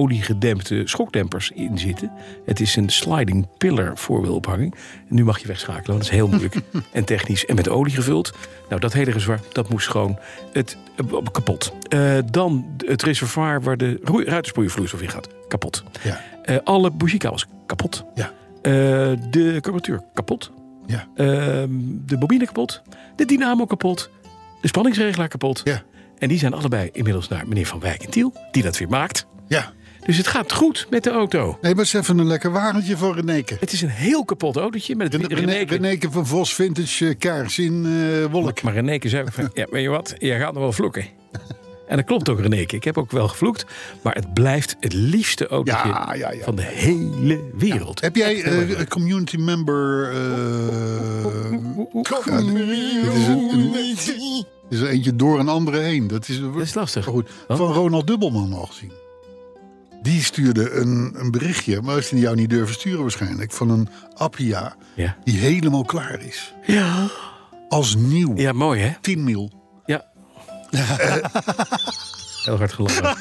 Speaker 3: oliegedempte schokdempers in zitten. Het is een sliding pillar voorwielophanging. Nu mag je wegschakelen, want dat is heel moeilijk en technisch. En met olie gevuld. Nou, dat hele reservoir, dat moest gewoon het, eh, kapot. Eh, dan het reservoir waar de roe- ruitersproeienvloeistof in gaat. Kapot.
Speaker 2: Ja.
Speaker 3: Eh, alle bougiekabels kapot.
Speaker 2: Ja.
Speaker 3: Eh, de carburateur kapot.
Speaker 2: Ja.
Speaker 3: Eh, de bobine kapot. De dynamo kapot. De spanningsregelaar kapot.
Speaker 2: Ja.
Speaker 3: En die zijn allebei inmiddels naar meneer Van Wijk en Tiel, die dat weer maakt.
Speaker 2: Ja.
Speaker 3: Dus het gaat goed met de auto.
Speaker 2: Nee, maar het is even een lekker wagentje voor Reneke.
Speaker 3: Het is een heel kapot autootje met
Speaker 2: Ren-
Speaker 3: het
Speaker 2: Reneke. Reneke van Vos Vintage eh, kaars in eh, Wolk.
Speaker 3: Maar Reneke zei ook van, ja, weet je wat, jij gaat nog wel vloeken. En dat klopt ook, Reneke. Ik heb ook wel gevloekt. Maar het blijft het liefste autootje
Speaker 2: Ja, ja, ja.
Speaker 3: van de hele wereld.
Speaker 2: Heb jij eh, een community member... eh, ja, dit is een- een- dit is er eentje door een andere heen. Dat is,
Speaker 3: dat is lastig.
Speaker 2: Maar goed,
Speaker 3: Wat?
Speaker 2: van Ronald Dubbelman al gezien. Die stuurde een, een berichtje, maar als die jou niet durven sturen waarschijnlijk, van een Appia
Speaker 3: Ja.
Speaker 2: die helemaal klaar is.
Speaker 3: Ja.
Speaker 2: Als nieuw.
Speaker 3: ja, mooi hè?
Speaker 2: 10 mil.
Speaker 3: Ja. Heel hard gelachen.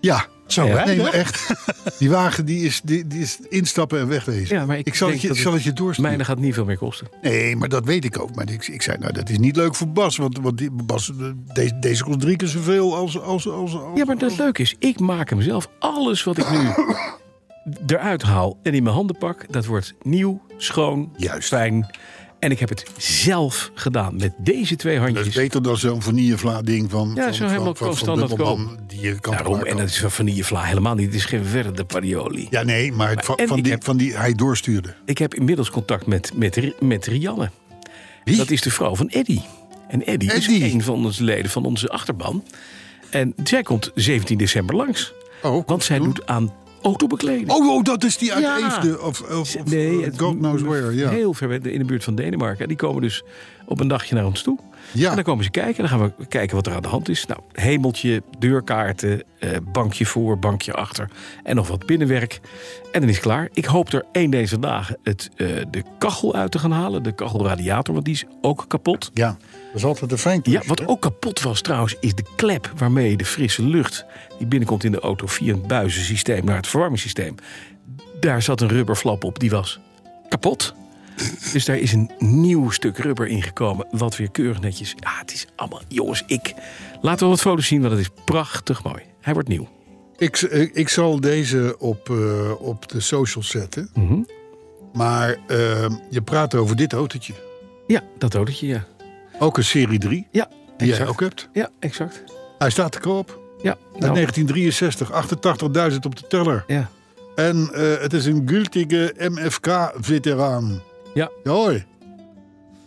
Speaker 2: Ja.
Speaker 4: Zo,
Speaker 3: Ja.
Speaker 4: hè?
Speaker 2: Nee, maar echt. Die wagen die is, die, die is instappen en wegwezen.
Speaker 3: Ja, maar ik
Speaker 2: ik zal het
Speaker 3: denk
Speaker 2: je,
Speaker 3: dat
Speaker 2: ik zal
Speaker 3: het
Speaker 2: het je doorsturen.
Speaker 3: Mijne gaat niet veel meer kosten.
Speaker 2: Nee, maar dat weet ik ook. Maar ik, ik zei, nou, dat is niet leuk voor Bas. Want, want die, Bas, eh, deze, deze kost drie keer zoveel als... als, als, als
Speaker 3: Ja, maar dat leuke is, ik maak hem zelf. Alles wat ik nu eruit haal en in mijn handen pak, dat wordt nieuw, schoon,
Speaker 2: Juist.
Speaker 3: fijn. En ik heb het zelf gedaan met deze twee
Speaker 2: Dat is
Speaker 3: handjes.
Speaker 2: beter dan zo'n vanillevla-ding van,
Speaker 3: Ja,
Speaker 2: van,
Speaker 3: zo
Speaker 2: van,
Speaker 3: helemaal
Speaker 2: van, van
Speaker 3: standaard
Speaker 2: Dubbelman Die je kan
Speaker 3: Daarom,
Speaker 2: maken.
Speaker 3: en dat is van vanillevla helemaal niet. Het is geen verre parioli.
Speaker 2: Ja, nee, maar, van,
Speaker 3: en
Speaker 2: van,
Speaker 3: ik
Speaker 2: die,
Speaker 3: heb-
Speaker 2: van die hij doorstuurde.
Speaker 3: Ik heb inmiddels contact met, met, Ri- met Rianne. Dat is de vrouw van Eddy. En Eddy is
Speaker 2: Eddy.
Speaker 3: een van onze leden van onze achterban. En zij komt 17 december langs.
Speaker 2: Oh,
Speaker 3: Want zij doet aan autobekleding.
Speaker 2: Oh, oh, dat is die uit
Speaker 3: Ja.
Speaker 2: Eefde. Of, of, of
Speaker 3: Nee,
Speaker 2: eh,
Speaker 3: het
Speaker 2: God knows where. Ja.
Speaker 3: Heel ver weg, in de buurt van Denemarken. En die komen dus op een dagje naar ons toe.
Speaker 2: Ja.
Speaker 3: En dan komen ze kijken. En dan gaan we kijken wat er aan de hand is. Nou, hemeltje, deurkaarten, eh, bankje voor, bankje achter. En nog wat binnenwerk. En dan is het klaar. Ik hoop er één deze dagen het, eh, de kachel uit te gaan halen. De kachelradiator, want die is ook kapot.
Speaker 2: ja, dat is altijd een fijn
Speaker 3: Ja,
Speaker 2: klusje,
Speaker 3: wat
Speaker 2: hè?
Speaker 3: ook kapot was trouwens, is de klep waarmee je de frisse lucht die binnenkomt in de auto via het buizensysteem naar het verwarmingssysteem. Daar zat een rubberflap op, die was kapot. Dus daar is een nieuw stuk rubber ingekomen, wat weer keurig netjes. Ja, het is allemaal, jongens, ik. Laten we wat foto's zien, want het is prachtig mooi. Hij wordt nieuw.
Speaker 2: Ik, z- eh, ik zal deze op, eh, op de social zetten.
Speaker 3: Mhm.
Speaker 2: Maar eh, je praat over dit autootje.
Speaker 3: Ja, dat autootje, ja.
Speaker 2: Ook een Serie 3,
Speaker 3: Ja,
Speaker 2: die jij
Speaker 3: exact.
Speaker 2: ook hebt.
Speaker 3: Ja, exact.
Speaker 2: Hij staat te koop.
Speaker 3: Ja,
Speaker 2: Uit
Speaker 3: nou,
Speaker 2: 1963, 88.000 op de teller.
Speaker 3: ja.
Speaker 2: En eh, het is een gültige MFK-veteraan.
Speaker 3: Ja.
Speaker 2: Hoi.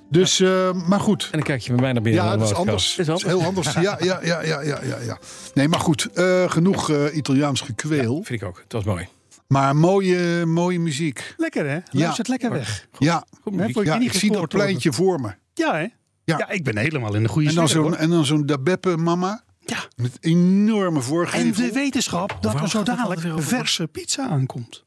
Speaker 2: Dus, eh, maar goed.
Speaker 3: En dan kijk je bij mij naar binnen.
Speaker 2: Ja,
Speaker 3: naar de
Speaker 2: dat is
Speaker 3: motorkap.
Speaker 2: anders.
Speaker 3: Dat is anders.
Speaker 2: heel anders. Ja, ja, ja, ja, ja, ja, ja. Nee, maar goed. eh, genoeg eh, Italiaans gekweel.
Speaker 3: Vind ik ook. Het was mooi.
Speaker 2: Maar mooie, mooie muziek.
Speaker 4: Lekker, hè? Luister het lekker weg.
Speaker 2: Ja,
Speaker 3: Goed,
Speaker 4: Hè,
Speaker 3: muziek.
Speaker 4: voor je
Speaker 2: ja
Speaker 4: knie
Speaker 2: ik zie dat
Speaker 4: gescoord worden.
Speaker 2: pleintje voor me.
Speaker 4: Ja, hè?
Speaker 2: Ja.
Speaker 4: Ja. ik ben helemaal in de goede
Speaker 2: En dan
Speaker 4: sfeer,
Speaker 2: zo'n,
Speaker 4: hoor.
Speaker 2: en dan zo'n Dabeppe mama.
Speaker 4: Ja.
Speaker 2: Met enorme
Speaker 4: En
Speaker 2: voorgevel.
Speaker 4: de wetenschap dat er zo dadelijk verse pizza aankomt.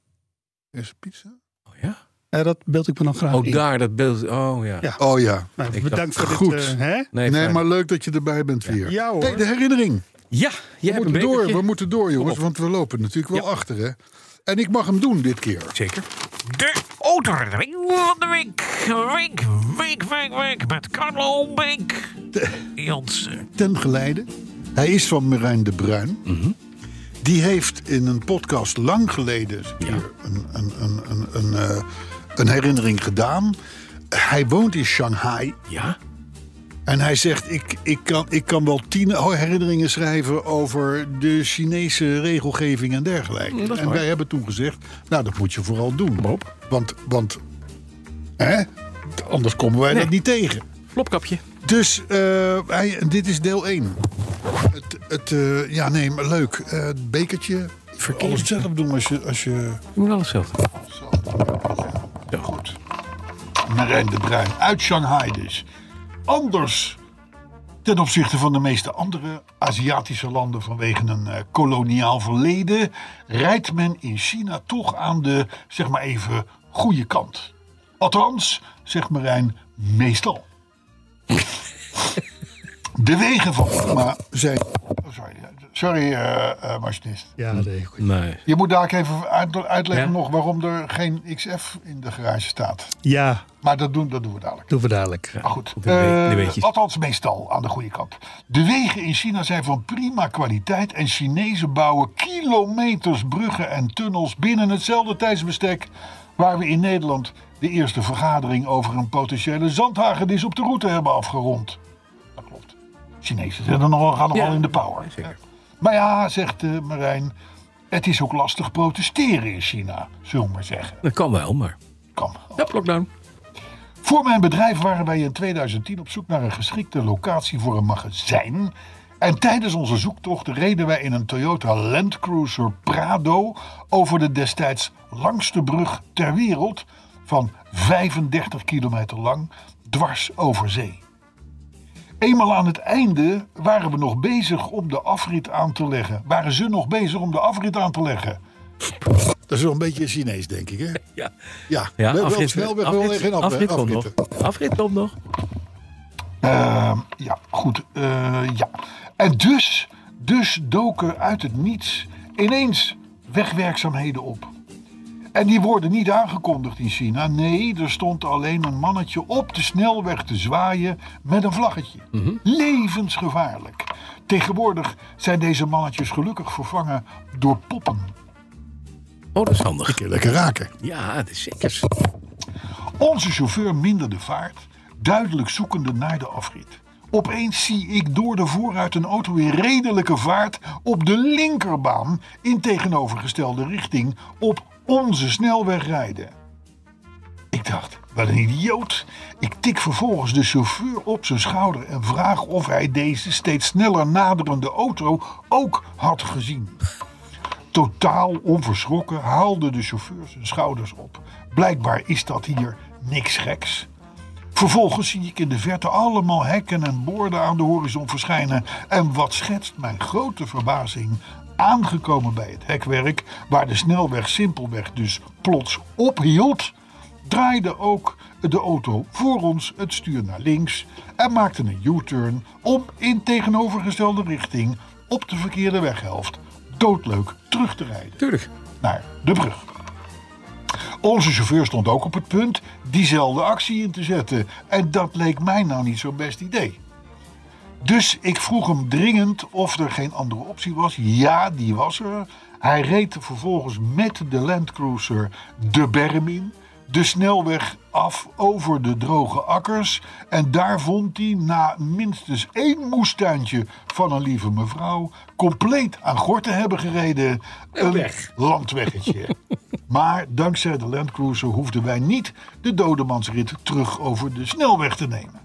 Speaker 2: Is het pizza?
Speaker 3: Oh, ja?
Speaker 4: Eh, dat beeld ik me dan graag
Speaker 3: oh
Speaker 4: in.
Speaker 3: daar, dat beeld. Oh ja.
Speaker 4: Ja.
Speaker 2: Oh ja.
Speaker 4: Nou,
Speaker 3: Ik
Speaker 4: bedankt voor
Speaker 2: dacht-
Speaker 4: dit.
Speaker 2: Goed.
Speaker 4: eh, hè?
Speaker 3: Nee,
Speaker 2: Nee,
Speaker 3: fijn.
Speaker 2: maar leuk dat je erbij bent weer.
Speaker 4: Ja, hoor.
Speaker 2: Hey, de herinnering.
Speaker 3: Ja, jij
Speaker 2: We
Speaker 3: hebt een
Speaker 2: moeten, door,
Speaker 3: bekertje.
Speaker 2: we moeten door, jongens, want we lopen natuurlijk wel achter. Hè? En ik mag hem doen dit keer.
Speaker 3: Zeker.
Speaker 6: De autoring van de week. Week, week, week, week. Met Carlo Beek. eh, Jansen.
Speaker 2: ten geleide. Hij is van Merijn de Bruin.
Speaker 3: Mhm.
Speaker 2: Die heeft in een podcast lang geleden eens een, keer een, een, een, een, een, eh, een herinnering gedaan. Hij woont in Shanghai.
Speaker 3: Ja?
Speaker 2: En hij zegt, ik, ik, kan, ik kan wel tien herinneringen schrijven over de Chinese regelgeving en dergelijke.
Speaker 3: Mm, dat is
Speaker 2: en
Speaker 3: waar.
Speaker 2: wij hebben toen gezegd, nou dat moet je vooral doen.
Speaker 3: maar op.
Speaker 2: Want, want hè? anders komen wij dat niet tegen.
Speaker 3: Flopkapje.
Speaker 2: Dus eh, hij, dit is deel 1. Het, het, eh, ja, nee, maar leuk. Eh, het bekertje.
Speaker 3: Verkeerd.
Speaker 2: Alles zelf doen als je, als je
Speaker 3: Je moet alles zelf doen. Zo goed.
Speaker 2: Marijn de Bruin uit Shanghai dus. Anders ten opzichte van de meeste andere Aziatische landen vanwege een eh, koloniaal verleden, rijdt men in China toch aan de, zeg maar even, goede kant. Althans, zegt Marijn, meestal. De wegen van Roma zijn... oh, sorry, sorry eh, eh, machinist.
Speaker 7: Ja, nee, goed.
Speaker 3: Nee.
Speaker 2: Je moet daar ook even uit- uitleggen
Speaker 3: Ja.
Speaker 2: nog waarom er geen XF in de garage staat.
Speaker 7: ja,
Speaker 2: Maar dat doen, dat doen we dadelijk.
Speaker 7: doen we dadelijk.
Speaker 4: Ah,
Speaker 2: Maar goed,
Speaker 3: de we-
Speaker 2: eh,
Speaker 3: de weetjes.
Speaker 2: althans meestal aan de goede kant. De wegen in China zijn van prima kwaliteit en Chinezen bouwen kilometers bruggen en tunnels binnen hetzelfde tijdsbestek waar we in Nederland de eerste vergadering over een potentiële zandhagedis op de route hebben afgerond. Dat klopt. Chinezen zijn er nogal, gaan nogal in de power. Maar ja, zegt eh, Marijn, het is ook lastig protesteren in China, zullen we maar zeggen.
Speaker 3: Dat kan wel, maar.
Speaker 2: Kan.
Speaker 3: Ja, lockdown.
Speaker 2: Voor mijn bedrijf waren wij in 2010 op zoek naar een geschikte locatie voor een magazijn. En tijdens onze zoektocht reden wij in een Toyota Land Cruiser Prado over de destijds langste brug ter wereld van 35 kilometer lang dwars over zee. Eenmaal aan het einde waren we nog bezig om de afrit aan te leggen. Waren ze nog bezig om de afrit aan te leggen? Dat is wel een beetje Chinees, denk ik, hè?
Speaker 3: Ja,
Speaker 2: Ja,
Speaker 3: ja
Speaker 2: wel,
Speaker 3: afrit-
Speaker 2: snel weg,
Speaker 3: afrit-
Speaker 2: wel geen
Speaker 3: afrit
Speaker 2: afrit,
Speaker 3: komt nog. Afrit komt nog.
Speaker 2: Ehm, ja, goed. eh, ja. En dus, dus doken uit het niets ineens wegwerkzaamheden op. En die worden niet aangekondigd in China. Nee, er stond alleen een mannetje op de snelweg te zwaaien met een vlaggetje. Levensgevaarlijk. Tegenwoordig zijn deze mannetjes gelukkig vervangen door poppen.
Speaker 3: Oh, dat is handig.
Speaker 2: Lekker raken.
Speaker 3: Ja, dat is zeker.
Speaker 2: Onze chauffeur minderde vaart, duidelijk zoekende naar de afrit. Opeens zie ik door de vooruit een auto in redelijke vaart op de linkerbaan in tegenovergestelde richting op onze snelweg rijden. Ik dacht, wat een idioot. Ik tik vervolgens de chauffeur op zijn schouder en vraag of hij deze steeds sneller naderende auto ook had gezien. Totaal onverschrokken haalde de chauffeur zijn schouders op. Blijkbaar is dat hier niks geks. Vervolgens zie ik in de verte allemaal hekken en borden aan de horizon verschijnen. En wat schetst mijn grote verbazing? Aangekomen bij het hekwerk, waar de snelweg simpelweg dus plots ophield, draaide ook de auto voor ons het stuur naar links en maakte een U-turn om in tegenovergestelde richting op de verkeerde weghelft doodleuk terug te rijden
Speaker 3: Tuurlijk.
Speaker 2: naar de brug. Onze chauffeur stond ook op het punt diezelfde actie in te zetten. En dat leek mij nou niet zo'n best idee. Dus ik vroeg hem dringend of er geen andere optie was. Ja, die was er. Hij reed vervolgens met de Land Cruiser de berm in. De snelweg af over de droge akkers. En daar vond hij na minstens één moestuintje van een lieve mevrouw... compleet aan gort te hebben gereden... een landweggetje. maar dankzij de Land Cruiser hoefden wij niet de dodemansrit terug over de snelweg te nemen.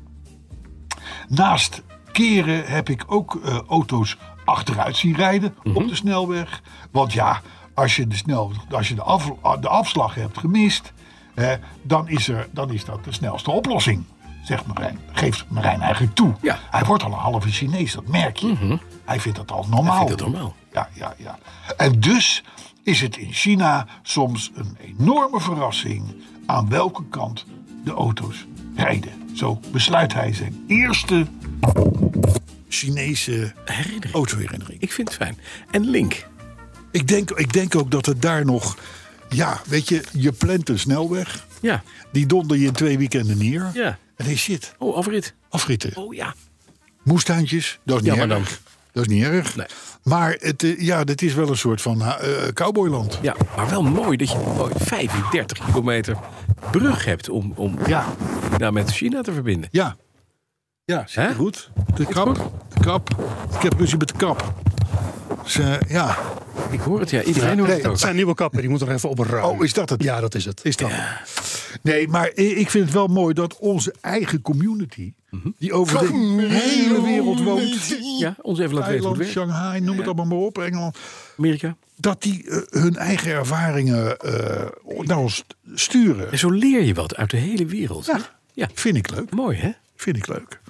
Speaker 2: Naast keren heb ik ook eh, auto's achteruit zien rijden op de snelweg. Want ja, als je de, snel, als je de, af, de afslag hebt gemist, eh, dan, is er, dan is dat de snelste oplossing. Zegt Marijn, geeft Marijn eigenlijk toe.
Speaker 3: Ja.
Speaker 2: Hij wordt al een halve Chinees, dat merk je. Hij vindt dat al normaal.
Speaker 3: Hij vindt dat normaal.
Speaker 2: Ja, ja, ja. En dus is het in China soms een enorme verrassing aan welke kant de auto's rijden. Zo besluit hij zijn eerste Chinese
Speaker 3: Herinnering.
Speaker 2: autoherinnering.
Speaker 3: Ik vind het fijn. En Link.
Speaker 2: Ik denk, ik denk ook dat het daar nog. Ja, weet je, je plant een snelweg.
Speaker 3: Ja.
Speaker 2: Die donder je in twee weekenden neer.
Speaker 3: Ja.
Speaker 2: En hey shit,
Speaker 3: Oh, afrit.
Speaker 2: afritten.
Speaker 3: Oh ja.
Speaker 2: Moestuintjes, dat is niet
Speaker 3: Ja, maar
Speaker 2: erg. Dat is niet erg.
Speaker 3: Nee.
Speaker 2: Maar het, eh, ja, dat is wel een soort van eh, cowboyland.
Speaker 3: Ja, maar wel mooi dat je mooi 35 kilometer brug hebt om, om
Speaker 2: Ja,
Speaker 3: nou, met China te verbinden.
Speaker 2: ja. Ja, zit
Speaker 3: Hè?
Speaker 2: goed. De kap, de kap. Ik heb ruzie met de kap. Dus, eh, ja,
Speaker 3: Ik hoor het, ja. Iedereen hoort
Speaker 2: Nee,
Speaker 3: het ook.
Speaker 7: Het zijn nieuwe kappen, die moeten er even op ruimen.
Speaker 2: Oh, is dat het?
Speaker 7: Ja, dat is het.
Speaker 2: is dat. Nee, maar i- ik vind het wel mooi dat onze eigen community... die over de hele wereld woont...
Speaker 3: Ja, ons even laten weten
Speaker 2: Thailand,
Speaker 3: hoe het werkt.
Speaker 2: Shanghai, noem het allemaal maar op, Engeland...
Speaker 3: Amerika.
Speaker 2: dat die eh, hun eigen ervaringen eh, naar ons sturen.
Speaker 3: En zo leer je wat uit de hele wereld. hè?
Speaker 2: Ja.
Speaker 3: ja.
Speaker 2: Vind ik leuk.
Speaker 3: Mooi, hè?
Speaker 2: Vind ik leuk.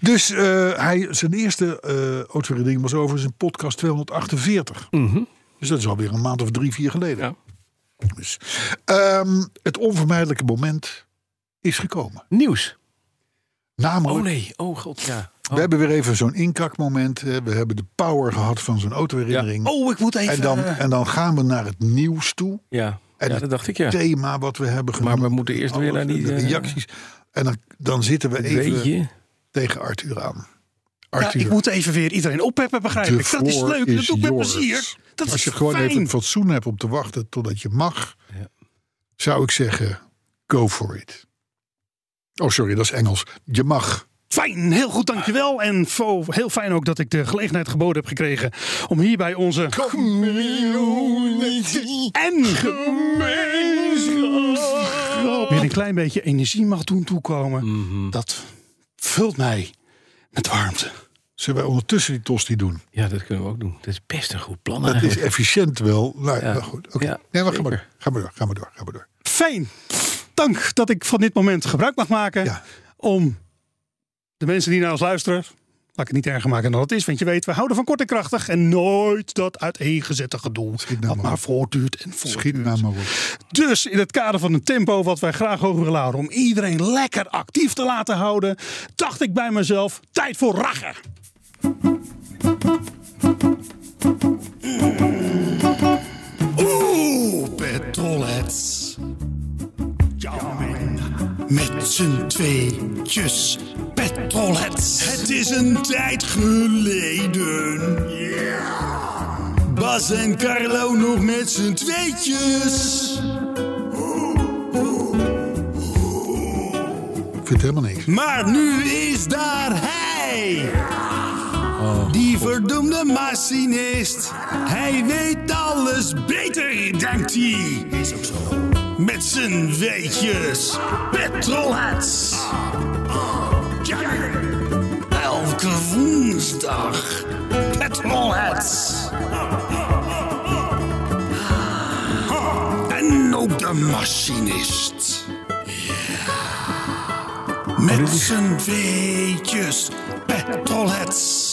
Speaker 2: Dus eh, hij, zijn eerste eh autoherinnering was over zijn podcast 248.
Speaker 3: Mhm.
Speaker 2: Dus dat is alweer een maand of drie, vier geleden.
Speaker 3: Ja.
Speaker 2: Dus, ehm, het onvermijdelijke moment is gekomen.
Speaker 3: Nieuws.
Speaker 2: Namelijk
Speaker 3: Oh nee, oh god, ja.
Speaker 2: We hebben weer even zo'n inkakmoment. eh, We hebben de power gehad van zo'n autoherinnering.
Speaker 3: Oh, ik moet even...
Speaker 2: en, dan, en dan gaan we naar het nieuws toe.
Speaker 3: ja.
Speaker 2: En
Speaker 3: ja,
Speaker 2: het
Speaker 3: dat dacht ik ja.
Speaker 2: thema wat we hebben genomen.
Speaker 3: we moeten eerst weer naar die,
Speaker 2: de
Speaker 3: eh,
Speaker 2: reacties. En dan, dan zitten we even
Speaker 3: Weet je?
Speaker 2: tegen Arthur aan.
Speaker 4: Ja,
Speaker 2: Arthur,
Speaker 4: ik moet even weer iedereen opheppen, begrijp
Speaker 2: de
Speaker 4: ik. Dat is
Speaker 2: floor
Speaker 4: leuk, dat doe ik met
Speaker 2: yours.
Speaker 4: plezier. Dat
Speaker 2: Als
Speaker 4: is
Speaker 2: je gewoon
Speaker 4: fijn.
Speaker 2: even het fatsoen hebt om te wachten totdat je mag,
Speaker 3: Ja.
Speaker 2: zou ik zeggen: go for it. Oh, sorry, dat is Engels. Je mag.
Speaker 4: Fijn, heel goed, dankjewel. En Fo, heel fijn ook dat ik de gelegenheid geboden heb gekregen... om hier bij onze... En gemeenschap... weer een klein beetje energie mag doen toekomen.
Speaker 7: Mhm.
Speaker 4: Dat vult mij met warmte.
Speaker 2: Zullen wij ondertussen die tosti doen?
Speaker 3: Ja, dat kunnen we ook doen. Dat is best een goed plan
Speaker 2: Dat is
Speaker 3: eigenlijk.
Speaker 2: efficiënt wel. Nou,
Speaker 3: Ja.
Speaker 2: nou goed. Oké.
Speaker 3: Ja,
Speaker 2: nee, maar ga maar, door.
Speaker 3: zeker.
Speaker 2: ga maar door. Ga maar door. Ga maar door.
Speaker 4: Fijn, dank dat ik van dit moment gebruik mag maken...
Speaker 2: Ja.
Speaker 4: om de mensen die naar ons luisteren... Laat ik het niet erger maken dan het is, want je weet, we houden van kort en krachtig en nooit dat uiteengezette gedoe.
Speaker 2: Schiet nou
Speaker 4: dat
Speaker 2: maar
Speaker 4: maar
Speaker 2: op.
Speaker 4: voortduurt en voortduurt.
Speaker 2: Schiet nou maar op.
Speaker 4: Dus in het kader van een tempo wat wij graag hoog willen houden, om iedereen lekker actief te laten houden, dacht ik bij mezelf: tijd voor rachen. Oeh, petrolheads. Jammin. Met z'n tweetjes. Petrolheads. Het is een tijd geleden. Bas en Carlo nog met z'n tweetjes.
Speaker 2: Ik vind helemaal niks.
Speaker 4: Maar nu is daar hij. Die verdoemde machinist. Hij weet alles beter, denkt hij. Is ook zo. Met zijn weetjes. Petrolheads. Ja. Elke woensdag. Petrolheads. En ook de machinist. Met zijn weetjes. Petrolheads.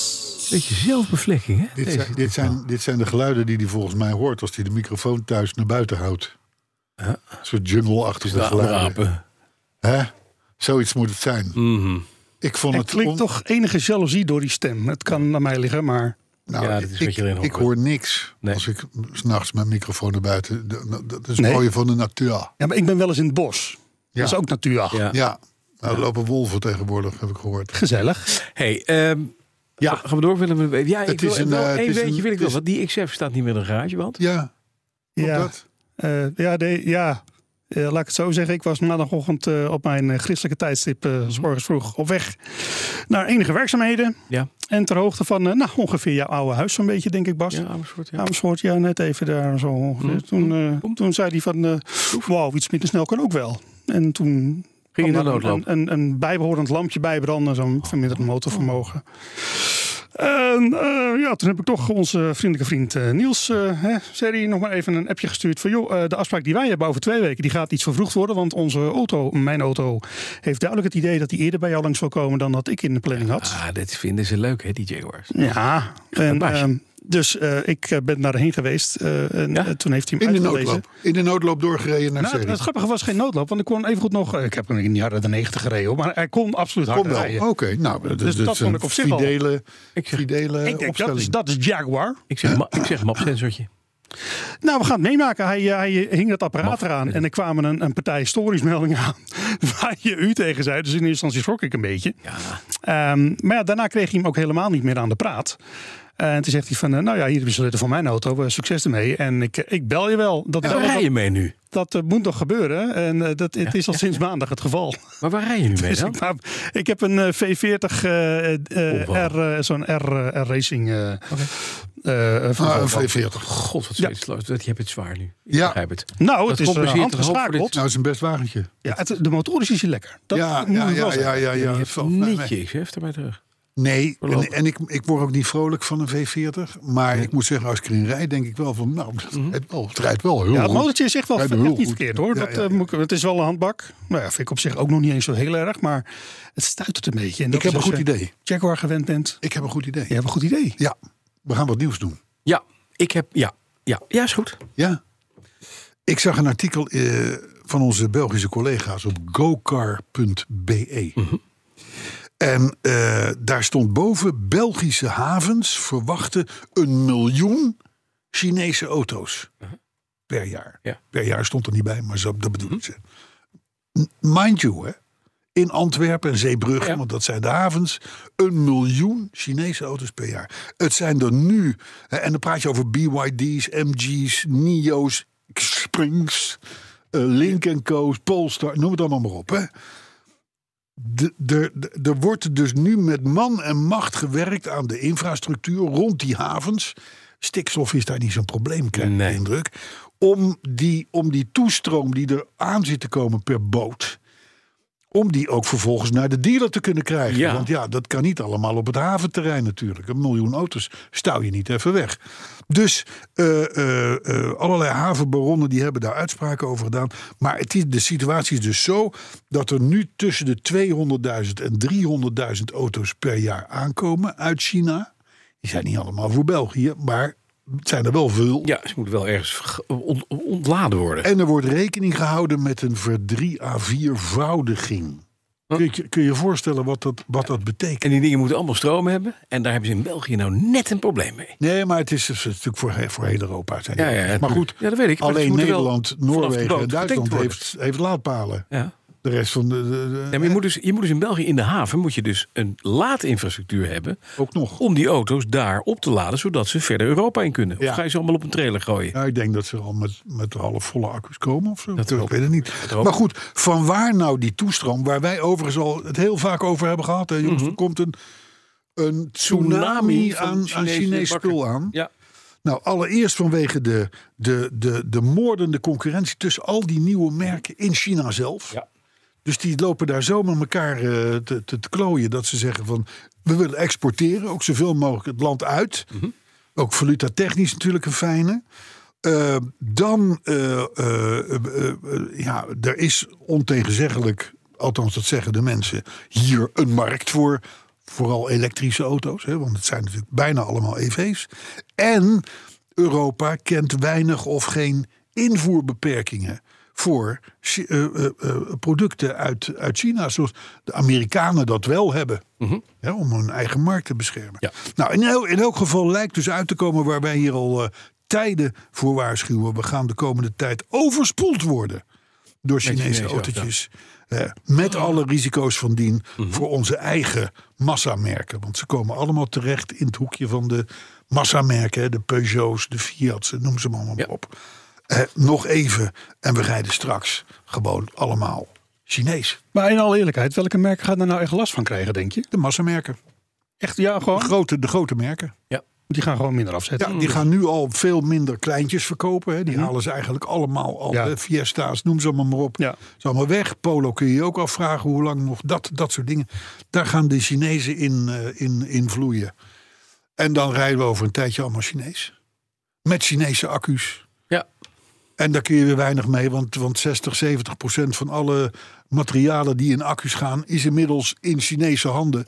Speaker 3: Beetje zelfbevlekking, hè?
Speaker 2: Dit
Speaker 3: Deze.
Speaker 2: zijn, dit, zijn, dit zijn de geluiden die hij volgens mij hoort als hij de microfoon thuis naar buiten houdt. Een soort jungle-achtige
Speaker 3: de andere
Speaker 2: geluiden.
Speaker 3: apen.
Speaker 2: Hè? Zoiets moet het zijn.
Speaker 3: Mhm.
Speaker 2: Ik vond
Speaker 4: Er
Speaker 2: het on-
Speaker 4: klinkt toch enige jaloezie door die stem. Het kan naar mij liggen, maar...
Speaker 2: Nou,
Speaker 3: Ja, dat is wat
Speaker 2: ik,
Speaker 3: je erin
Speaker 2: ik
Speaker 3: hoort.
Speaker 2: hoor niks
Speaker 3: Nee.
Speaker 2: als ik s'nachts mijn microfoon naar buiten. d- d- Dat is het
Speaker 4: Nee.
Speaker 2: mooie van de natuur.
Speaker 4: Ja, maar ik ben wel eens in het bos. Dat is ook natuur.
Speaker 3: Ja.
Speaker 2: Ja, nou, er lopen wolven tegenwoordig, heb ik gehoord.
Speaker 4: Gezellig.
Speaker 3: Hey, ehm,
Speaker 2: Ja.
Speaker 3: gaan we door? Willem? Willen we- ja, ik
Speaker 2: Het
Speaker 3: wil
Speaker 2: is een,
Speaker 3: wel
Speaker 2: eh, het
Speaker 3: één
Speaker 2: is
Speaker 3: weetje
Speaker 2: een-
Speaker 3: wil
Speaker 2: het
Speaker 3: ik wel.
Speaker 2: is-
Speaker 3: Want die XF staat niet meer in de garagewand.
Speaker 2: Ja,
Speaker 4: Ja,
Speaker 2: dat.
Speaker 4: eh, ja, nee, ja. Eh, laat ik het zo zeggen. Ik was maandagochtend eh, op mijn eh, christelijke tijdstip, eh, s morgens vroeg, op weg naar enige werkzaamheden.
Speaker 3: Ja.
Speaker 4: En ter hoogte van, eh, nou, ongeveer jouw oude huis zo'n beetje, denk ik, Bas.
Speaker 3: Ja, Amersfoort. Ja.
Speaker 4: Amersfoort, ja, net even daar zo. ongeveer.
Speaker 3: Hmm.
Speaker 4: Toen, eh, toen zei hij van, eh wauw, iets minder snel kan ook wel. En toen
Speaker 3: Ging je
Speaker 4: kwam
Speaker 3: naar Oh. de
Speaker 4: daar
Speaker 3: noodloop?
Speaker 4: Een, een, een bijbehorend lampje bijbranden, zo'n verminderd motorvermogen. En eh, ja, toen heb ik toch onze vriendelijke vriend eh, Niels eh, hè, Serrie nog maar even een appje gestuurd. Van joh, eh, de afspraak die wij hebben over twee weken, die gaat iets vervroegd worden. Want onze auto, mijn auto, heeft duidelijk het idee dat die eerder bij jou langs zal komen dan dat ik in de planning had.
Speaker 3: Ah, dat vinden ze leuk, hè, die Jaguars.
Speaker 4: Ja, en,
Speaker 3: baasje.
Speaker 4: ehm, dus eh, ik eh, ben daarheen geweest eh, en
Speaker 3: Ja?
Speaker 4: eh, toen heeft hij hem
Speaker 2: In de
Speaker 4: uitgelezen.
Speaker 2: noodloop. In de noodloop doorgereden naar
Speaker 4: Nou, het,
Speaker 2: Zeeland.
Speaker 4: het grappige was geen noodloop, want ik kon evengoed nog... eh, Ik heb hem in de jaren de 90 gereden, hoor, maar hij kon absoluut hard
Speaker 2: Kom wel.
Speaker 4: rijden.
Speaker 2: Oké, nou, dat,
Speaker 4: Dus
Speaker 2: dat
Speaker 4: dat
Speaker 2: is
Speaker 4: vond
Speaker 2: een
Speaker 4: ik op zich al-
Speaker 2: fidele,
Speaker 3: Ik zeg,
Speaker 2: fidele
Speaker 4: ik denk, dat
Speaker 2: opstelling.
Speaker 4: is, dat is Jaguar.
Speaker 3: ik zeg, ma- ik zeg mapsensortje.
Speaker 4: Nou, we gaan het meemaken. Hij, eh, hij hing dat apparaat
Speaker 3: Mag.
Speaker 4: eraan en er kwamen een, een partij storiesmeldingen aan... waar je u tegen zei. Dus in eerste instantie schrok ik een beetje. Ehm, maar ja, daarna kreeg hij hem ook helemaal niet meer aan de praat. Eh, en toen zegt hij van, eh, nou ja, hier hebben ze van mijn auto. eh, Succes ermee. En ik, ik bel je wel. Dat,
Speaker 3: Waar
Speaker 4: dat-
Speaker 3: rij je mee nu?
Speaker 4: dat eh, moet nog gebeuren. En eh, dat, het is al sinds maandag het geval.
Speaker 3: Maar waar rij je nu mee
Speaker 4: Dus
Speaker 3: dan?
Speaker 4: ik, maak- ik heb een eh, V40 eh, eh,
Speaker 3: Oh, wow.
Speaker 4: R, eh, zo'n R, eh, R Racing. eh, eh, van
Speaker 2: Ah, een
Speaker 4: Volvo.
Speaker 2: V40.
Speaker 3: God, wat
Speaker 4: Ja.
Speaker 3: zoiets ja. Je hebt het zwaar nu. Ik
Speaker 2: Ja.
Speaker 3: begrijp het.
Speaker 4: nou,
Speaker 3: dat
Speaker 4: het is
Speaker 3: compenseert
Speaker 4: eh,
Speaker 3: toch
Speaker 4: handgeschakeld.
Speaker 3: hoop
Speaker 2: Nou, is een best wagentje.
Speaker 4: Ja, het, de motorisch is hier lekker. Dat
Speaker 2: ja,
Speaker 4: moet
Speaker 2: ja,
Speaker 4: ik wel
Speaker 2: ja, ja,
Speaker 4: zeggen.
Speaker 2: ja, ja.
Speaker 3: je
Speaker 2: het
Speaker 3: hebt
Speaker 2: valt-
Speaker 3: niet
Speaker 2: nee,
Speaker 3: je XF erbij terug.
Speaker 2: Nee,
Speaker 3: Voorlopig.
Speaker 2: en, en ik, ik word ook niet vrolijk van een V40. Maar ik moet zeggen, als ik erin rijd, denk ik wel van... Nou, het, rijdt wel, het rijdt wel heel
Speaker 4: Mhm. Ja, het
Speaker 2: goed.
Speaker 4: motortje is echt wel
Speaker 2: Ja,
Speaker 4: echt
Speaker 2: heel
Speaker 4: niet
Speaker 2: goed.
Speaker 4: verkeerd
Speaker 2: Ja,
Speaker 4: hoor. dat,
Speaker 2: ja,
Speaker 4: eh,
Speaker 2: ja.
Speaker 4: moet ik- het is wel een handbak. Nou ja, vind ik op zich ook nog niet eens zo heel erg. Maar het stuitert een beetje. En dat
Speaker 2: Ik heb
Speaker 4: is
Speaker 2: een
Speaker 4: als
Speaker 2: goed
Speaker 4: je
Speaker 2: idee.
Speaker 4: Jaguar gewend bent.
Speaker 2: Ik heb een goed idee.
Speaker 4: Je hebt een goed idee.
Speaker 2: Ja, we gaan wat nieuws doen.
Speaker 3: Ja, ik heb... Ja, ja. ja is goed.
Speaker 2: Ja. Ik zag een artikel eh, van onze Belgische collega's op gocar.be. En eh, daar stond boven: Belgische havens verwachten een miljoen Chinese auto's per jaar.
Speaker 3: Ja.
Speaker 2: Per jaar stond er niet bij, maar zo, dat bedoelen ze. N- Mind you, hè, in Antwerpen en Zeebrugge,
Speaker 3: Ja.
Speaker 2: want dat zijn de havens, een miljoen Chinese auto's per jaar. Het zijn er nu, hè, en dan praat je over BYD's, MG's, NIO's, Springs, eh, Lincoln Co's, Polestar, noem het allemaal maar op. Hè. De- de- de- Er wordt dus nu met man en macht gewerkt aan de infrastructuur rond die havens. Stikstof is daar niet zo'n probleem, krijg ik de
Speaker 3: Nee.
Speaker 2: indruk. Om die, om die toestroom die er aan zit te komen per boot. Om die ook vervolgens naar de dealer te kunnen krijgen.
Speaker 3: Ja.
Speaker 2: Want ja, dat kan niet allemaal op het haventerrein natuurlijk. Een miljoen auto's stouw je niet even weg. Dus eh, eh, eh, allerlei havenbaronnen die hebben daar uitspraken over gedaan. Maar het is, de situatie is dus zo dat er nu tussen de 200.000 en 300.000 auto's per jaar aankomen uit China. Die zijn niet allemaal voor België, maar het zijn er wel veel.
Speaker 3: Ja, ze moeten wel ergens ge- on- ontladen worden.
Speaker 2: En er wordt rekening gehouden met een verdrie à viervoudiging. Kun je kun je je voorstellen wat dat, wat dat betekent?
Speaker 3: En die dingen moeten allemaal stroom hebben. En daar hebben ze in België nou net een probleem mee.
Speaker 2: Nee, maar het is, het is natuurlijk voor, he- voor heel Europa. Zijn die
Speaker 3: Ja, ja,
Speaker 2: regels.
Speaker 3: ja,
Speaker 2: maar goed,
Speaker 3: tuurlijk. Ja, dat weet ik. Maar ze
Speaker 2: alleen
Speaker 3: moeten wel
Speaker 2: Nederland,
Speaker 3: vanaf de
Speaker 2: Noorwegen en
Speaker 3: boot
Speaker 2: Duitsland
Speaker 3: gedekt worden.
Speaker 2: heeft, heeft laadpalen.
Speaker 3: Ja.
Speaker 2: De rest van de... de- de-
Speaker 3: Ja, maar je, moet dus, je moet dus in België in de haven moet je dus een laadinfrastructuur hebben.
Speaker 2: Ook nog.
Speaker 3: Om die auto's daar op te laden, zodat ze verder Europa in kunnen.
Speaker 2: Ja.
Speaker 3: Of ga je ze allemaal op een trailer gooien?
Speaker 2: Ja, ik denk dat ze al met, met halfvolle accu's komen of zo.
Speaker 3: Dat
Speaker 2: ik
Speaker 3: ook.
Speaker 2: weet het niet.
Speaker 3: ook.
Speaker 2: Maar goed, van waar nou die toestroom, waar wij overigens al het heel vaak over hebben gehad. Hè, jongens, Er komt een, een tsunami,
Speaker 3: Mhm. van
Speaker 2: aan, aan
Speaker 3: Chinese
Speaker 2: Chinees
Speaker 3: bakken.
Speaker 2: spul aan.
Speaker 3: Ja.
Speaker 2: Nou, allereerst vanwege de, de, de, de moordende concurrentie tussen al die nieuwe merken in China zelf.
Speaker 3: Ja.
Speaker 2: Dus die lopen daar zo met elkaar eh, te, te, te klooien dat ze zeggen van we willen exporteren, ook zoveel mogelijk het land uit. Ook valuta technisch natuurlijk een fijne. Eh, dan, eh, eh, eh, eh, ja, er is ontegenzeggelijk, althans dat zeggen de mensen, hier een markt voor. Vooral elektrische auto's, hè, want het zijn natuurlijk bijna allemaal EV's. En Europa kent weinig of geen invoerbeperkingen voor Chi- eh, eh, eh, producten uit, uit China, zoals de Amerikanen dat wel hebben, hè, om hun eigen markt te beschermen.
Speaker 3: Ja.
Speaker 2: Nou, in, el- in elk geval lijkt dus uit te komen waar wij hier al eh, tijden voor waarschuwen. We gaan de komende tijd overspoeld worden door Chinese,
Speaker 3: Chinese
Speaker 2: autootjes. Eh, met alle risico's van dien voor onze eigen massamerken. Want ze komen allemaal terecht in het hoekje van de massamerken. hè, De Peugeots, de Fiat's, noem ze maar allemaal
Speaker 3: Ja.
Speaker 2: op. Eh, nog even en we rijden straks gewoon allemaal Chinees.
Speaker 4: Maar in alle eerlijkheid, welke merken gaan daar nou echt last van krijgen, denk je?
Speaker 2: De massamerken.
Speaker 4: Echt, ja,
Speaker 2: De
Speaker 4: gewoon.
Speaker 2: grote, de grote merken.
Speaker 4: Die gaan gewoon minder afzetten.
Speaker 2: Ja, die gaan nu al veel minder kleintjes verkopen. Hè. Die halen ze eigenlijk allemaal al.
Speaker 4: Hmm. Ja.
Speaker 2: hè, Fiesta's, noem ze allemaal maar op.
Speaker 4: Ja.
Speaker 2: Ze allemaal weg. Polo kun je je ook afvragen hoe lang nog. Dat, dat soort dingen. Daar gaan de Chinezen in, eh, in, in vloeien. En dan rijden we over een tijdje allemaal Chinees. Met Chinese accu's.
Speaker 3: Ja.
Speaker 2: En daar kun je weer weinig mee, want, want 60, 70 procent van alle materialen die in accu's gaan, is inmiddels in Chinese handen.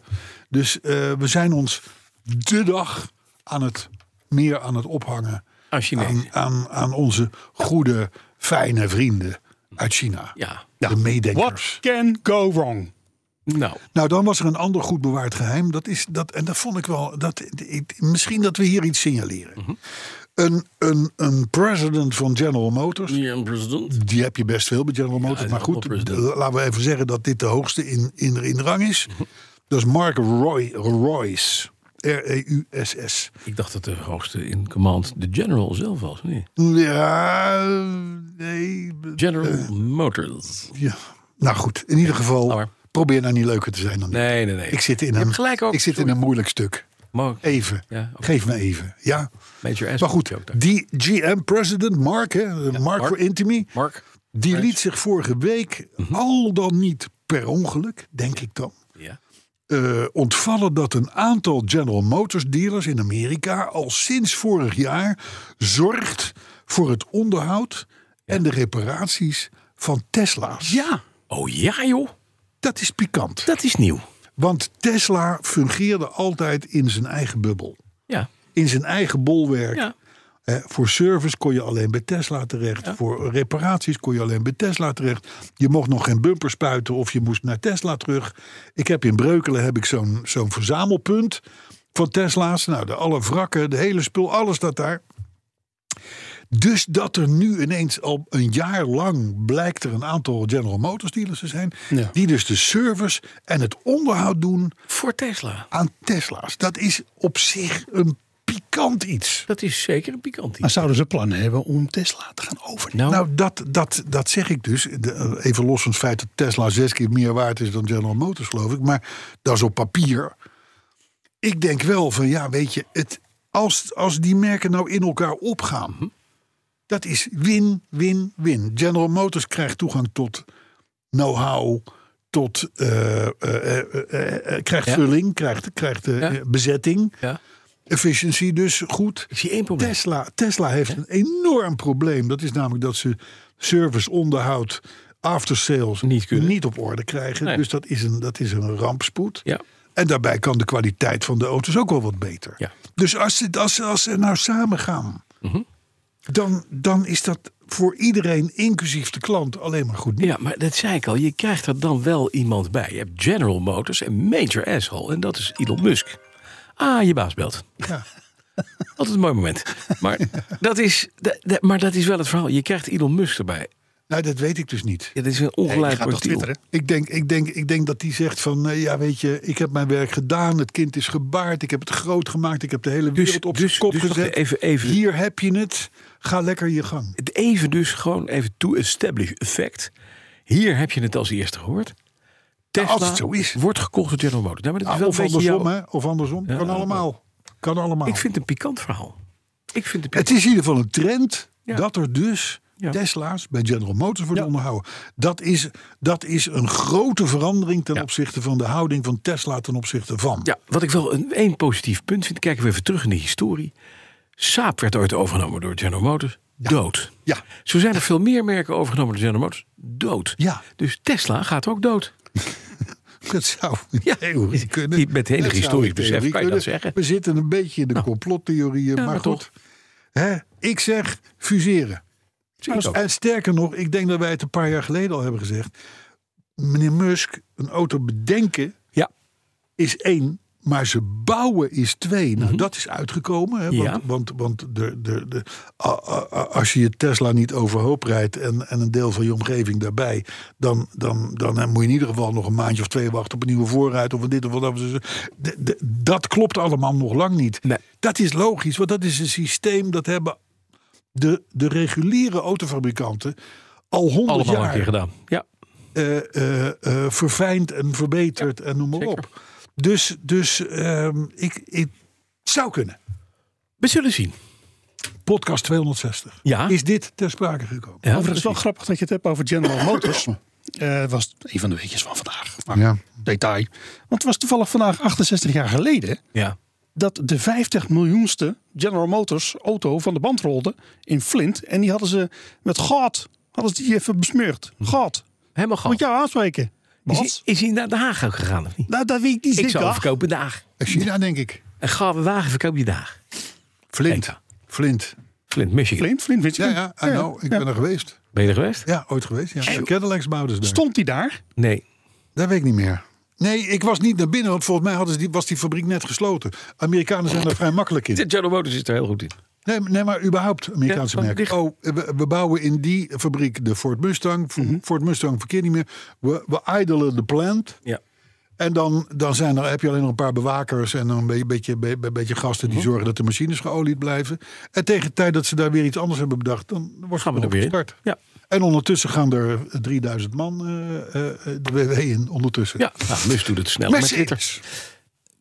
Speaker 2: Dus eh, we zijn ons de dag aan het, meer aan het ophangen
Speaker 3: Aan Chinees.
Speaker 2: aan, aan, aan onze goede, fijne vrienden uit China.
Speaker 3: Ja.
Speaker 2: De meedenkers.
Speaker 4: What can go wrong?
Speaker 3: Nou,
Speaker 2: Nou, dan was er een ander goed bewaard geheim. Dat is dat, en dat vond ik wel. Dat, ik- misschien dat we hier iets signaleren.
Speaker 3: Mhm.
Speaker 2: Een, een, een president van General Motors.
Speaker 3: Ian president.
Speaker 2: Die heb je best veel bij General Motors.
Speaker 3: die
Speaker 2: maar
Speaker 3: is ook
Speaker 2: goed,
Speaker 3: wel president.
Speaker 2: l- laten we even zeggen dat dit de hoogste in, in, in rang is. Dat is Mark Roy, Royce. E R-E-U-S-S.
Speaker 3: Ik dacht dat de hoogste in command de general zelf was. of niet?
Speaker 2: Ja, nee. Eh.
Speaker 3: General Motors.
Speaker 2: Ja. Nou goed, in ieder
Speaker 3: laat
Speaker 2: geval
Speaker 3: maar.
Speaker 2: probeer nou niet leuker te zijn dan ik.
Speaker 3: Nee, nee, nee.
Speaker 2: Ik zit in
Speaker 3: Je
Speaker 2: een,
Speaker 3: hebt gelijk ook.
Speaker 2: ik zit in een moeilijk stuk.
Speaker 3: Mo-
Speaker 2: Even.
Speaker 3: Ja, oké.
Speaker 2: Geef me even. Ja.
Speaker 3: Major S.
Speaker 2: Maar goed,
Speaker 3: is ook daar.
Speaker 2: die GM-president Mark, hè, Mark
Speaker 3: Mark.
Speaker 2: voor Intimi,
Speaker 3: Mark. Mhm.
Speaker 2: die liet zich vorige week al dan niet per ongeluk, denk ik dan,
Speaker 3: Ja.
Speaker 2: eh, ontvallen dat een aantal General Motors dealers in Amerika al sinds vorig jaar zorgt voor het onderhoud en de reparaties van Tesla's.
Speaker 3: Ja. Oh ja, joh.
Speaker 2: Dat is pikant.
Speaker 3: Dat is nieuw.
Speaker 2: Want Tesla fungeerde altijd in zijn eigen bubbel.
Speaker 3: Ja.
Speaker 2: In zijn eigen bolwerk.
Speaker 3: Ja.
Speaker 2: Hè, voor service kon je alleen bij Tesla terecht. Voor reparaties kon je alleen bij Tesla terecht. Je mocht nog geen bumper spuiten of je moest naar Tesla terug. Ik heb in Breukelen heb ik zo'n zo'n verzamelpunt van Tesla's. Nou, de alle wrakken, de hele spul, alles staat daar. Dus dat er nu ineens al een jaar lang blijkt er een aantal General Motors dealers te zijn.
Speaker 4: Ja.
Speaker 2: Die dus de service en het onderhoud doen
Speaker 3: Voor Tesla.
Speaker 2: aan Tesla's. Dat is op zich een pikant iets.
Speaker 3: Dat is zeker een pikant
Speaker 4: Maar
Speaker 3: iets.
Speaker 4: zouden ze plannen hebben om Tesla te gaan overnemen?
Speaker 3: Nou,
Speaker 2: Nou, dat, dat, dat zeg ik dus. De, eh, even los van het feit dat Tesla zes keer meer waard is dan General Motors, geloof ik. Maar dat is op papier. Ik denk wel van, ja, weet je, het, als, als die merken nou in elkaar opgaan,
Speaker 3: Mhm.
Speaker 2: dat is win, win, win. General Motors krijgt toegang tot know-how, tot eh, eh, eh, eh, eh, krijgt
Speaker 3: Ja.
Speaker 2: vulling, krijgt, krijgt eh,
Speaker 3: Ja.
Speaker 2: bezetting,
Speaker 3: ja.
Speaker 2: efficiency dus goed.
Speaker 3: Ik zie één probleem.
Speaker 2: Tesla, Tesla heeft een enorm probleem. Dat is namelijk dat ze service, onderhoud, after sales
Speaker 3: Niet kunnen.
Speaker 2: op orde krijgen.
Speaker 3: Nee.
Speaker 2: Dus dat is, een, dat is een rampspoed.
Speaker 3: Ja.
Speaker 2: En daarbij kan de kwaliteit van de auto's ook wel wat beter.
Speaker 3: Ja. Mhm.
Speaker 2: Dus als ze, als, ze- als ze nou samen gaan, dan, dan is dat voor iedereen, inclusief de klant, alleen maar goed nieuws.
Speaker 3: Ja, maar dat zei ik al. Je krijgt er dan wel iemand bij. Je hebt General Motors en Major Asshole. En dat is Elon Musk. Ah, je baas belt.
Speaker 2: Ja.
Speaker 3: Altijd een mooi moment. Maar dat, is, dat, dat- maar dat is wel het verhaal. Je krijgt Elon Musk erbij.
Speaker 2: Nou, dat weet ik dus niet.
Speaker 3: Ja, dat is een
Speaker 4: Hij
Speaker 3: ongelijk
Speaker 4: gaat toch
Speaker 3: profiel.
Speaker 4: twitteren?
Speaker 2: Ik denk, ik, denk, ik denk dat die zegt van, eh, ja weet je, ik heb mijn werk gedaan, het kind is gebaard, ik heb het groot gemaakt, ik heb de hele
Speaker 3: Dus-
Speaker 2: wereld op
Speaker 3: dus-
Speaker 2: zijn kop
Speaker 3: dus wacht
Speaker 2: gezet.
Speaker 3: even- even-
Speaker 2: Hier heb je het, ga lekker je gang.
Speaker 3: Het Even dus gewoon even to establish effect. Hier heb je het als eerste gehoord. Tesla
Speaker 2: Nou, als het zo is.
Speaker 3: wordt gekocht door General Motors. Nou, maar dat is
Speaker 2: Ah,
Speaker 3: wel
Speaker 2: of,
Speaker 3: een beetje
Speaker 2: andersom,
Speaker 3: jouw-
Speaker 2: hè, of andersom,
Speaker 3: Ja,
Speaker 2: kan
Speaker 3: ja.
Speaker 2: allemaal. Kan allemaal.
Speaker 3: Ik vind het een pikant verhaal. Ik vind het pikant.
Speaker 2: Het is in ieder geval een trend
Speaker 3: Ja.
Speaker 2: dat er dus
Speaker 3: Ja.
Speaker 2: Tesla's bij General Motors worden onderhouden. Dat is, dat is een grote verandering ten
Speaker 3: Ja.
Speaker 2: opzichte van de houding van Tesla ten opzichte van.
Speaker 3: Ja, wat ik wel een één positief punt vind, kijken we even terug in de historie. Saab werd ooit overgenomen door General Motors. Dood.
Speaker 2: Ja.
Speaker 3: Zo zijn er veel meer merken overgenomen door General Motors. Dood.
Speaker 2: Ja.
Speaker 3: Dus Tesla gaat ook dood.
Speaker 2: Dat zou
Speaker 3: Ja,
Speaker 2: ja, theorie kunnen.
Speaker 3: die- met enig
Speaker 2: Dat zou
Speaker 3: historisch
Speaker 2: in theorie
Speaker 3: besef kan je
Speaker 2: kunnen.
Speaker 3: dat zeggen. Nou.
Speaker 2: We zitten een beetje in de complottheorieën, maar,
Speaker 3: maar
Speaker 2: goed.
Speaker 3: toch.
Speaker 2: Hè, ik zeg fuseren.
Speaker 3: Zie ik ook.
Speaker 2: En sterker nog, ik denk dat wij het een paar jaar geleden al hebben gezegd. Meneer Musk, een auto bedenken
Speaker 3: Ja.
Speaker 2: is één, maar ze bouwen is twee. Nou, dat is uitgekomen. Hè, want,
Speaker 3: Mhm. Ja.
Speaker 2: want, want de, de, de, a- a- a- als je je Tesla niet overhoop rijdt en, en een deel van je omgeving daarbij, dan, dan, dan hè, moet je in ieder geval nog een maandje of twee wachten op een nieuwe voorruit of een dit of wat. anders. eh, De- de- Dat klopt allemaal nog lang niet.
Speaker 3: Nee.
Speaker 2: Dat is logisch, want dat is een systeem dat hebben de, de reguliere autofabrikanten al honderd
Speaker 3: Allemaal
Speaker 2: jaar
Speaker 3: een keer gedaan. Ja.
Speaker 2: eh, eh, eh, verfijnd en verbeterd en noem maar
Speaker 3: zeker.
Speaker 2: op. Dus, dus ehm, ik, ik zou kunnen.
Speaker 3: We zullen zien.
Speaker 2: Podcast 260.
Speaker 3: Ja.
Speaker 2: Is dit ter sprake gekomen?
Speaker 3: Ja,
Speaker 4: Overigens is wel
Speaker 3: precies.
Speaker 4: grappig dat je het hebt over General Motors. Eh was een van de weetjes van vandaag. Maar
Speaker 2: Ja.
Speaker 4: detail. Want het was toevallig vandaag 68 jaar geleden
Speaker 3: Ja.
Speaker 4: dat de 50 miljoenste General Motors auto van de band rolde in Flint. En die hadden ze met goud, hadden ze die even besmeurd. Goud.
Speaker 3: Helemaal
Speaker 4: Moet
Speaker 3: goed.
Speaker 4: jou aanspreken.
Speaker 3: Hm. Is,
Speaker 4: Wat?
Speaker 3: hij- is hij naar Den Haag ook gegaan of niet?
Speaker 4: Nou, dat weet ik niet
Speaker 3: Ik
Speaker 4: zeker.
Speaker 3: zou verkopen daag.
Speaker 2: China, denk ik.
Speaker 3: Een gouden wagen verkoop je daag.
Speaker 2: Flint.
Speaker 3: Kijk.
Speaker 2: Flint.
Speaker 3: Flint, Michigan.
Speaker 4: Flint, Flint, weet je
Speaker 2: Ja,
Speaker 4: het?
Speaker 2: ja, I know. Ik ben er geweest.
Speaker 3: Ben je er geweest?
Speaker 2: Ja, ooit geweest. Ja.
Speaker 3: En-
Speaker 2: Cadillacs bouwden ze daar.
Speaker 4: Stond die daar?
Speaker 3: Nee.
Speaker 2: Dat weet ik niet meer. Nee, ik was niet naar binnen, want volgens mij hadden ze die, was die fabriek net gesloten. Amerikanen zijn er vrij makkelijk in.
Speaker 3: General Motors is er heel goed in.
Speaker 2: Nee, nee, maar überhaupt Amerikaanse
Speaker 3: Ja,
Speaker 2: merken.
Speaker 3: dicht.
Speaker 2: Oh, we, we bouwen in die fabriek de Ford Mustang.
Speaker 3: Mhm.
Speaker 2: Vo- Ford Mustang verkeert niet meer. We, we idelen de plant.
Speaker 3: Ja.
Speaker 2: En dan, dan zijn er, heb je alleen nog een paar bewakers en een be- beetje, be- be- beetje gasten
Speaker 3: Mhm.
Speaker 2: die zorgen dat de machines geolied blijven. En tegen de tijd dat ze daar weer iets anders hebben bedacht, dan wordt
Speaker 3: Gaan we er
Speaker 2: het
Speaker 3: weer in.
Speaker 2: gestart.
Speaker 3: Ja.
Speaker 2: En ondertussen gaan er eh, 3000 man eh, eh, eh, de WW in. Ondertussen.
Speaker 3: Ja. Nou, Musk doet het snel. met Twitter.
Speaker 2: Mercedes.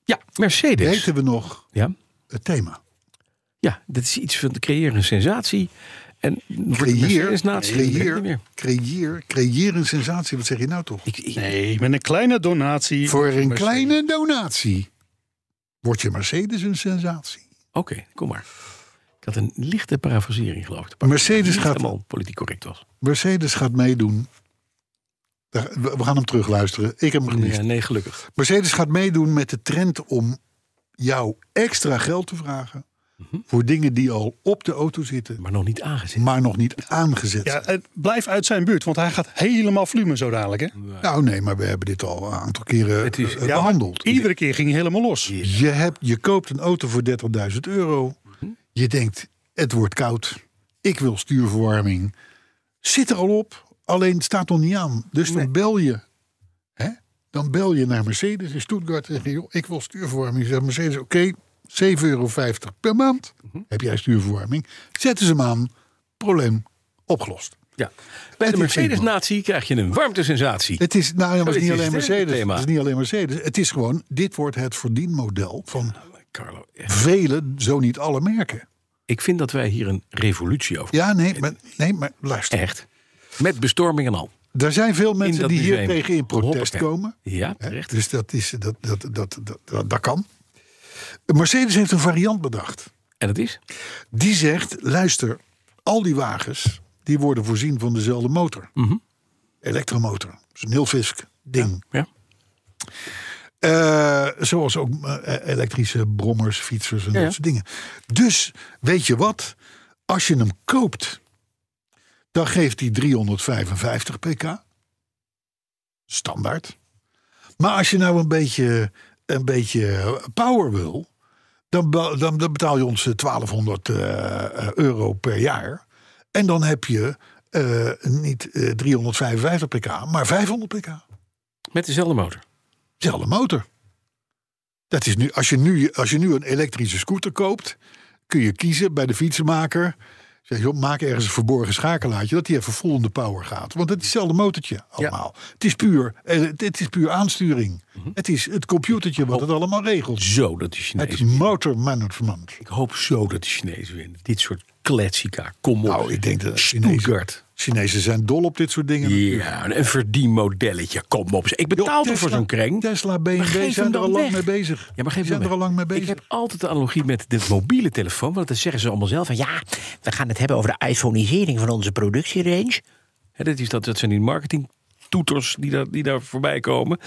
Speaker 3: Ja, Mercedes.
Speaker 2: Weten we nog
Speaker 3: Ja.
Speaker 2: het thema?
Speaker 3: Ja, dat is iets van creëren een sensatie. En
Speaker 2: Creëer,
Speaker 3: is natie.
Speaker 2: creëer, creëer, creëer een sensatie. Wat zeg je nou toch?
Speaker 3: Ik, ik,
Speaker 4: Nee, met een kleine donatie.
Speaker 2: Voor een kleine donatie wordt je Mercedes een sensatie.
Speaker 3: Oké, kom maar. Ik had een lichte parafrasering geloof ik. te pakken,
Speaker 2: Mercedes
Speaker 3: die
Speaker 2: gaat,
Speaker 3: helemaal politiek correct was.
Speaker 2: Mercedes gaat meedoen. Daar- We we gaan hem terugluisteren. Ik heb hem gemist.
Speaker 3: Ja, nee, gelukkig.
Speaker 2: Mercedes gaat meedoen met de trend om jou extra geld te vragen
Speaker 3: Mhm.
Speaker 2: voor dingen die al op de auto zitten,
Speaker 3: Maar nog niet aangezien.
Speaker 2: maar nog niet aangezet
Speaker 4: Ja,
Speaker 2: zijn.
Speaker 4: eh, blijf uit zijn buurt, want hij gaat helemaal volume zo dadelijk. Hè?
Speaker 2: Nou nee, maar we hebben dit al een aantal keren
Speaker 3: Het is-
Speaker 2: eh,
Speaker 3: ja,
Speaker 4: maar
Speaker 2: behandeld.
Speaker 4: Iedere keer ging hij helemaal los.
Speaker 2: Je, hebt, je koopt een auto voor 30.000 euro. Je denkt, het wordt koud. Ik wil stuurverwarming. Zit er al op, alleen het staat nog niet aan. Dus dan bel je. Hè? Dan bel je naar Mercedes in Stuttgart en zeg je... Joh, ik wil stuurverwarming. Zegt Mercedes, oké, 7,50 euro per maand
Speaker 3: Mhm.
Speaker 2: heb jij stuurverwarming. Zetten ze hem aan, probleem opgelost.
Speaker 3: Ja. Bij de
Speaker 2: is
Speaker 3: Mercedes-natie krijg je een warmtesensatie.
Speaker 2: Het is, nou, ja, maar het is niet
Speaker 3: Zoiets is
Speaker 2: alleen
Speaker 3: het, hè,
Speaker 2: Mercedes.
Speaker 3: thema.
Speaker 2: Het is niet alleen Mercedes. Het is gewoon, dit wordt het verdienmodel van
Speaker 3: Carlo, echt.
Speaker 2: vele, zo niet alle merken.
Speaker 3: ik vind dat wij hier een revolutie over
Speaker 2: Ja, nee, maar, nee, maar luister.
Speaker 3: Echt. Met bestorming en al.
Speaker 2: Er zijn veel mensen
Speaker 3: Eh, dat
Speaker 2: die hier
Speaker 3: museum.
Speaker 2: tegen in protest
Speaker 3: Hoppakee.
Speaker 2: komen.
Speaker 3: Ja,
Speaker 2: Hè?
Speaker 3: terecht.
Speaker 2: Dus dat, is, dat, dat, dat, dat, dat, dat kan. Mercedes heeft een variant bedacht.
Speaker 3: En dat is?
Speaker 2: Die zegt, luister, al die wagens... die worden voorzien van dezelfde motor.
Speaker 3: Mhm.
Speaker 2: Elektromotor. Dat is een heel visk ding.
Speaker 3: Ja.
Speaker 2: Eh, zoals ook eh, elektrische brommers, fietsers en
Speaker 3: Ja, ja.
Speaker 2: dat soort dingen. Dus weet je wat? Als je hem koopt, dan geeft hij 355 pk. Standaard. Maar als je nou een beetje, een beetje power wil, dan, be- dan, dan betaal je ons eh, 1200 eh, eh, euro per jaar. En dan heb je eh, niet eh, 355 pk, maar 500 pk.
Speaker 3: Met dezelfde motor.
Speaker 2: Zelfde motor. Dat is nu, als, je nu, als je nu een elektrische scooter koopt, kun je kiezen bij de fietsenmaker. Zeg je, joh, maak ergens een verborgen schakelaartje dat die even vol in de power gaat. Want het is hetzelfde motortje allemaal. Het, is puur, eh, het is puur aansturing. Het is het computertje wat het allemaal regelt.
Speaker 3: Mhm. Oh. Zo dat de
Speaker 2: Het
Speaker 3: Chinezen.
Speaker 2: motormanagement.
Speaker 3: Ik hoop zo dat de Chinezen winnen. Dit soort kletsika. Kom op.
Speaker 2: Nou, ik denk dat de Chinezen,
Speaker 3: Stuttgart.
Speaker 2: Chinezen zijn dol op dit soort dingen.
Speaker 3: Ja, een verdienmodelletje. Kom op. Ik betaal
Speaker 2: Joh,
Speaker 3: toch voor
Speaker 2: Tesla-
Speaker 3: zo'n kring?
Speaker 2: Tesla,
Speaker 3: Maar geef
Speaker 2: BMW
Speaker 3: hem
Speaker 2: zijn er
Speaker 3: dan
Speaker 2: al lang
Speaker 3: weg.
Speaker 2: mee bezig.
Speaker 3: Ja, maar
Speaker 2: Die
Speaker 3: geef
Speaker 2: zijn
Speaker 3: me.
Speaker 2: er al lang mee
Speaker 3: Ik
Speaker 2: bezig.
Speaker 3: heb altijd de analogie met de mobiele telefoon. Want dat zeggen ze allemaal zelf. Van, ja,
Speaker 5: We gaan het hebben over de iPhoneisering van onze productierange.
Speaker 3: Hè, dat, is dat, dat zijn die marketingtoeters die daar, die daar voorbij komen.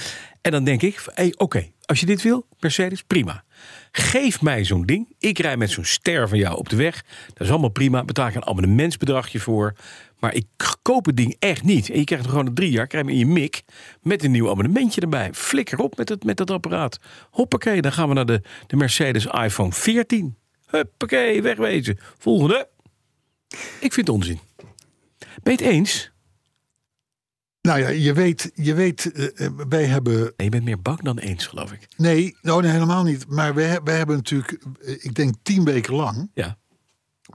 Speaker 3: En dan denk ik, hey, oké, als je dit wil, Mercedes, prima. Geef mij zo'n ding. Ik rij met zo'n ster van jou op de weg. Dat is allemaal prima. Betaal ik een abonnementsbedragje voor. Maar ik k- koop het ding echt niet. En je krijgt hem gewoon na drie jaar krijg je hem in je mik. Met een nieuw abonnementje erbij. Flikker op met, het, met dat apparaat. Hoppakee, dan gaan we naar de, de Mercedes iPhone 14. Huppakee, wegwezen. Volgende. Ik vind het onzin. Ben je het eens?
Speaker 2: Nou ja, je weet, je weet eh, eh, wij hebben
Speaker 3: Nee, je bent meer bang dan eens, geloof ik.
Speaker 2: Nee, nou, nee, helemaal niet. Maar wij, wij hebben natuurlijk, eh, ik denk tien weken lang,
Speaker 3: Ja.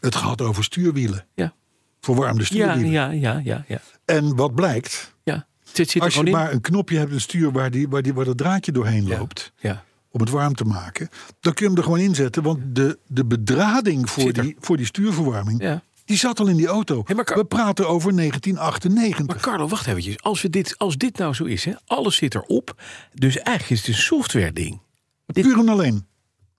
Speaker 2: het gehad over stuurwielen.
Speaker 3: Ja.
Speaker 2: Verwarmde
Speaker 3: Ja,
Speaker 2: stuurwielen.
Speaker 3: ja, ja, ja, ja.
Speaker 2: En wat blijkt,
Speaker 3: ja. Het zit, zit er
Speaker 2: als je
Speaker 3: gewoon in.
Speaker 2: maar een knopje hebt, een stuur waar, die, waar, die, waar dat draadje doorheen loopt,
Speaker 3: Ja.
Speaker 2: om het warm te maken, dan kun je hem er gewoon inzetten. Want de, de bedrading voor
Speaker 3: Zit er.
Speaker 2: die, voor die stuurverwarming,
Speaker 3: Ja.
Speaker 2: die zat al in die auto.
Speaker 3: Hé, maar Kar-
Speaker 2: We praten over 1998.
Speaker 3: Maar Carlo, wacht eventjes. Als, we dit, als dit nou zo is, hè, alles zit erop. Dus eigenlijk is het een software ding.
Speaker 2: Puur en alleen.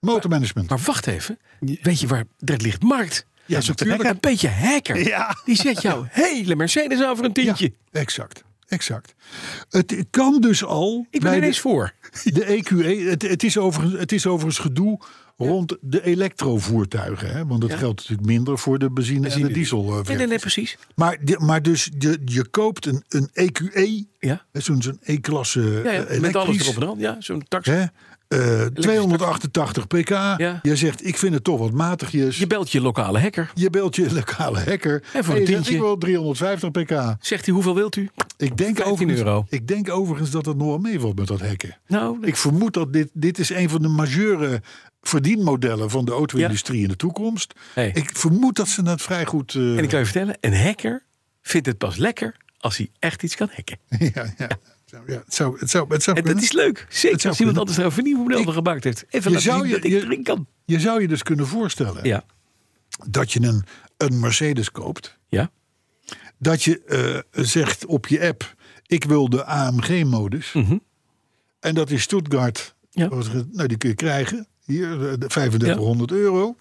Speaker 2: Motormanagement.
Speaker 3: Maar wacht even. Weet je waar dat ligt? Markt.
Speaker 2: ja, natuurlijk.
Speaker 3: Een beetje hacker.
Speaker 4: Ja.
Speaker 3: Die zet jouw hele Mercedes aan voor een tientje.
Speaker 2: Ja, exact. Exact. Het kan dus al.
Speaker 3: Ik ben
Speaker 2: bij
Speaker 3: er
Speaker 2: de-
Speaker 3: eens voor.
Speaker 2: De EQE, het, het, is overigens, het is overigens gedoe rond de elektrovoertuigen. Hè? Want dat geldt natuurlijk minder voor de benzine, en de diesel. eh,
Speaker 3: Nee, nee, nee, precies.
Speaker 2: Maar, de- maar dus je, je koopt een, een EQE,
Speaker 3: Ja.
Speaker 2: hè, zo'n zo'n E-klasse
Speaker 3: Ja,
Speaker 2: eh,
Speaker 3: ja.
Speaker 2: elektrisch.
Speaker 3: Met alles erop en aan. Ja, zo'n taxi.
Speaker 2: hè? Eh, 288 pk. Je zegt, ik vind het toch wat matigjes.
Speaker 3: Je
Speaker 2: Je,
Speaker 3: belt je lokale hacker.
Speaker 2: belt je lokale hacker.
Speaker 3: En voor
Speaker 2: je zegt,
Speaker 3: een tientje.
Speaker 2: ik wil 350 pk.
Speaker 3: Zegt hij, hoeveel wilt u?
Speaker 2: Ik denk,
Speaker 3: 15
Speaker 2: overigens,
Speaker 3: euro.
Speaker 2: ik denk overigens dat het nog wel meevalt met dat hacken.
Speaker 3: Nou,
Speaker 2: Ik vermoed dat dit, dit is een van de majeure verdienmodellen van de auto-industrie in de toekomst.
Speaker 3: Hey.
Speaker 2: Ik vermoed dat ze dat vrij goed. eh,
Speaker 3: En ik kan je vertellen, een hacker vindt het pas lekker als hij echt iets kan hacken.
Speaker 2: ja, ja. Zo, ja, het zou, het zou, het zou
Speaker 3: En dat
Speaker 2: kunnen.
Speaker 3: is leuk. Zeker
Speaker 2: zou
Speaker 3: als iemand
Speaker 2: kunnen.
Speaker 3: anders daar een vernieuwmodel van gemaakt heeft. Even laten
Speaker 2: zou
Speaker 3: zien
Speaker 2: je-
Speaker 3: dat ik
Speaker 2: je-
Speaker 3: erin kan.
Speaker 2: Je zou je dus kunnen voorstellen
Speaker 3: Ja,
Speaker 2: dat je een, een Mercedes koopt.
Speaker 3: ja,
Speaker 2: Dat je eh, zegt op je app: ik wil de AMG-modus. En dat is Stuttgart.
Speaker 3: Mhm. Ja.
Speaker 2: Wat ge- Nou, die kun je krijgen. Hier, eh, de 3500 euro.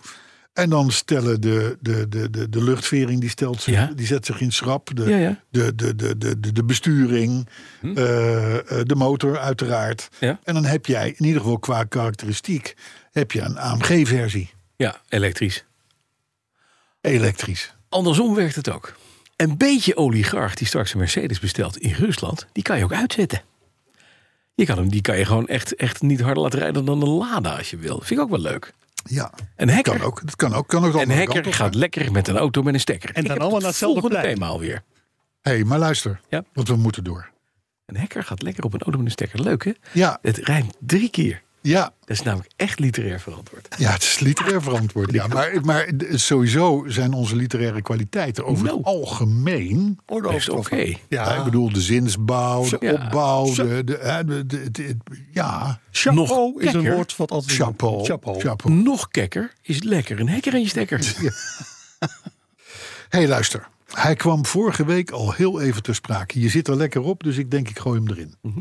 Speaker 2: En dan stellen de, de, de, de, de luchtvering, die, stelt zich,
Speaker 3: Ja.
Speaker 2: die zet zich in schrap. De,
Speaker 3: Ja, ja. Mhm.
Speaker 2: De, de, de, de, de, de besturing, eh, eh, de motor uiteraard.
Speaker 3: Ja.
Speaker 2: En dan heb jij, in ieder geval qua karakteristiek, heb je een AMG-versie.
Speaker 3: Ja, elektrisch.
Speaker 2: Elektrisch.
Speaker 3: Andersom werkt het ook. Een beetje oligarch die straks een Mercedes bestelt in Rusland, die kan je ook uitzetten. Je kan hem, die kan je gewoon echt, echt niet harder laten rijden dan een Lada als je wil. Vind ik ook wel leuk.
Speaker 2: Ja,
Speaker 3: Een hacker,
Speaker 2: kan ook. Dat kan ook. Kan ook de
Speaker 3: een
Speaker 2: andere
Speaker 3: hacker
Speaker 2: kant op.
Speaker 3: gaat lekker met een auto met een stekker.
Speaker 4: dan
Speaker 3: Ik heb
Speaker 4: allemaal naar hetzelfde
Speaker 3: volgende
Speaker 4: plein.
Speaker 3: thema alweer.
Speaker 2: Hé, hey, maar luister.
Speaker 3: Ja.
Speaker 2: Want we moeten door.
Speaker 3: Een hacker gaat lekker op een auto met een stekker. Leuk hè?
Speaker 2: Ja,
Speaker 3: Het rijmt drie keer.
Speaker 2: ja,
Speaker 3: Dat is namelijk echt literair verantwoord.
Speaker 2: ja het is literair verantwoord. Ja, maar, maar sowieso zijn onze literaire kwaliteiten over
Speaker 3: Nou.
Speaker 2: het algemeen...
Speaker 3: Best oké. Ah.
Speaker 2: Ja, ik bedoel, de zinsbouw, de
Speaker 3: Ja.
Speaker 2: opbouw, de, de, hè, de- de- de- ja,
Speaker 4: Chapeau is een
Speaker 3: kekker.
Speaker 4: woord wat altijd...
Speaker 2: chapeau.
Speaker 4: Chapeau.
Speaker 2: chapeau.
Speaker 3: Nog kekker is lekker een hacker aan je stekker.
Speaker 2: hey, luister. Hij kwam vorige week al heel even ter sprake. Je zit er lekker op, dus ik denk ik gooi hem erin.
Speaker 3: Mhm.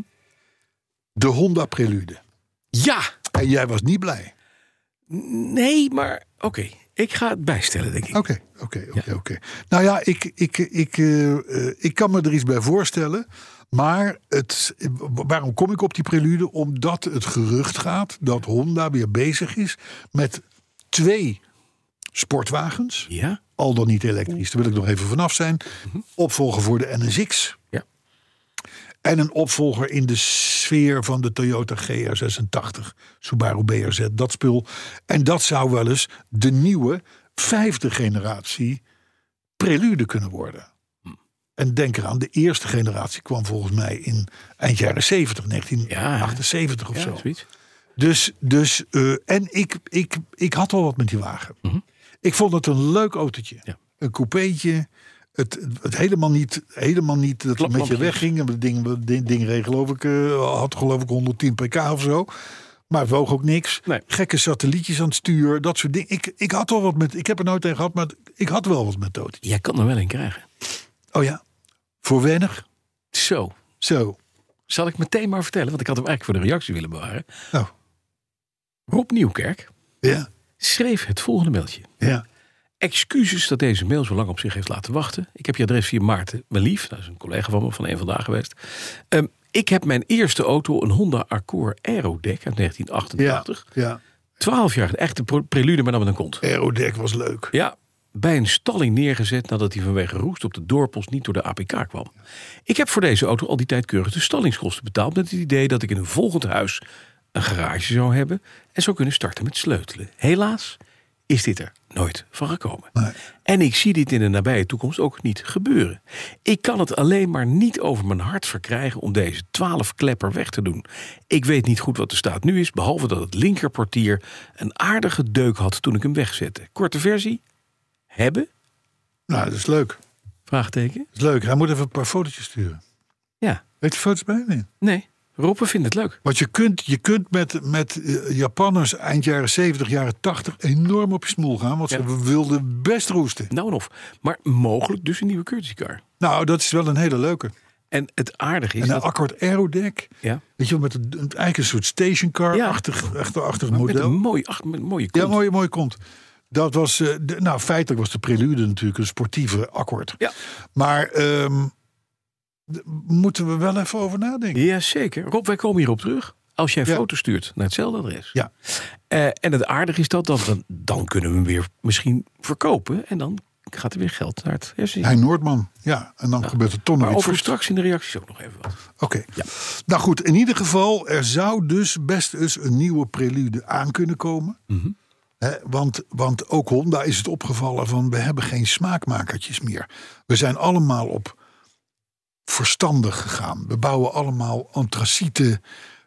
Speaker 2: De Honda Prelude.
Speaker 3: Ja!
Speaker 2: En jij was niet blij.
Speaker 3: Nee, maar oké. Ik ga het bijstellen, denk ik.
Speaker 2: Oké, oké, oké, oké. Nou ja, ik, ik, ik, eh, eh, ik kan me er iets bij voorstellen. Maar het, waarom kom ik op die prelude? Omdat het gerucht gaat dat Honda weer bezig is met twee sportwagens.
Speaker 3: Ja?
Speaker 2: al dan niet elektrisch. Daar wil ik nog even vanaf zijn. Opvolger voor de NSX.
Speaker 3: Mhm. Ja.
Speaker 2: En een opvolger in de sfeer van de Toyota GR86, Subaru BRZ, dat spul. En dat zou wel eens de nieuwe vijfde generatie prelude kunnen worden.
Speaker 3: Hm.
Speaker 2: En denk eraan, de eerste generatie kwam volgens mij in eind jaren 70, 1978 of
Speaker 3: Ja,
Speaker 2: zo.
Speaker 3: zoiets.
Speaker 2: Dus, dus eh, en ik, ik, ik had al wat met die wagen. Ik vond het een leuk autootje.
Speaker 3: Mhm. Ja.
Speaker 2: Een coupeetje. Het, het helemaal niet, helemaal niet dat het met je
Speaker 3: Klaplampjes.
Speaker 2: wegging. Het ding, ding, ding reed geloof ik, eh, had geloof ik 110 pk of zo. Maar het woog ook niks.
Speaker 3: Nee.
Speaker 2: Gekke satellietjes aan het stuur, dat soort dingen. Ik, ik had al wat met, ik heb er nooit tegen gehad, maar ik had wel wat met dood.
Speaker 3: Jij kan er wel een krijgen.
Speaker 2: Oh ja, voor weinig.
Speaker 3: Zo.
Speaker 2: Zo.
Speaker 3: Zal ik meteen maar vertellen, want ik had hem eigenlijk voor de reactie willen bewaren.
Speaker 2: Oh.
Speaker 3: Rob Nieuwkerk
Speaker 2: Ja,
Speaker 3: schreef het volgende mailtje.
Speaker 2: ja.
Speaker 3: Excuses dat deze mail zo lang op zich heeft laten wachten. Ik heb je adres via Maarten Melief, dat is een collega van me van een vandaag geweest. Ehm, ik heb mijn eerste auto, een Honda Accord Aerodeck uit
Speaker 2: Ja,
Speaker 3: 1988.
Speaker 2: ja.
Speaker 3: 12 jaar, echt een pro- prelude maar dan met een kont.
Speaker 2: Aerodeck was leuk.
Speaker 3: Ja, bij een stalling neergezet nadat hij vanwege roest op de doorpost niet door de APK kwam. Ik heb voor deze auto al die tijd keurig de stallingskosten betaald met het idee dat ik in een volgend huis een garage zou hebben en zou kunnen starten met sleutelen. Helaas is dit er nooit van gekomen. En ik zie dit in de nabije toekomst ook niet gebeuren. Ik kan het alleen maar niet over mijn hart verkrijgen om deze 12 klepper weg te doen. Ik weet niet goed wat de staat nu is, behalve dat het linkerportier een aardige deuk had toen ik hem wegzette. Korte versie, hebben?
Speaker 2: Nou, dat is leuk. Dat
Speaker 3: Vraagteken?
Speaker 2: is leuk. Hij moet even een paar fotootjes sturen.
Speaker 3: Ja.
Speaker 2: Weet je foto's bij hem in?
Speaker 3: Nee. Roppen vindt het leuk.
Speaker 2: Want je kunt, je kunt met, met eh, Japanners eind jaren 70, jaren 80 enorm op je smoel gaan. Want ze
Speaker 3: Ja.
Speaker 2: wilden best roesten.
Speaker 3: Nou en of. Maar mogelijk dus een nieuwe courtesy car.
Speaker 2: Nou, dat is wel een hele leuke.
Speaker 3: En het aardige is
Speaker 2: en een
Speaker 3: dat...
Speaker 2: Accord Aerodeck.
Speaker 3: Ja.
Speaker 2: Weet je, wel, met een, een- eigenlijk een soort stationcar-achtig echte- achtig
Speaker 3: Met een
Speaker 2: model.
Speaker 3: mooi, ach, met een mooie
Speaker 2: Ja,
Speaker 3: kont.
Speaker 2: mooi, mooi komt. Dat was, eh, de- nou feitelijk was de prelude natuurlijk een sportieve akkoord.
Speaker 3: Ja.
Speaker 2: Maar ehm, d- moeten we wel even over nadenken.
Speaker 3: Jazeker. Rob, wij komen hierop terug. Als jij
Speaker 2: Ja.
Speaker 3: foto's stuurt naar hetzelfde adres.
Speaker 2: Ja.
Speaker 3: Eh, en het aardige is dat, dan, dan, dan kunnen we hem weer misschien verkopen. En dan gaat er weer geld naar het hersenen.
Speaker 2: Hij Noordman, ja. En dan gebeurt er toch nog
Speaker 3: maar
Speaker 2: iets
Speaker 3: over
Speaker 2: goeds.
Speaker 3: straks in de reacties ook nog even wat.
Speaker 2: Oké. Nou goed, in ieder geval, er zou dus best eens een nieuwe prelude aan kunnen komen.
Speaker 3: Mhm.
Speaker 2: Hè, want, want ook Honda is het opgevallen van we hebben geen smaakmakertjes meer. We zijn allemaal op verstandig gegaan. We bouwen allemaal antraciete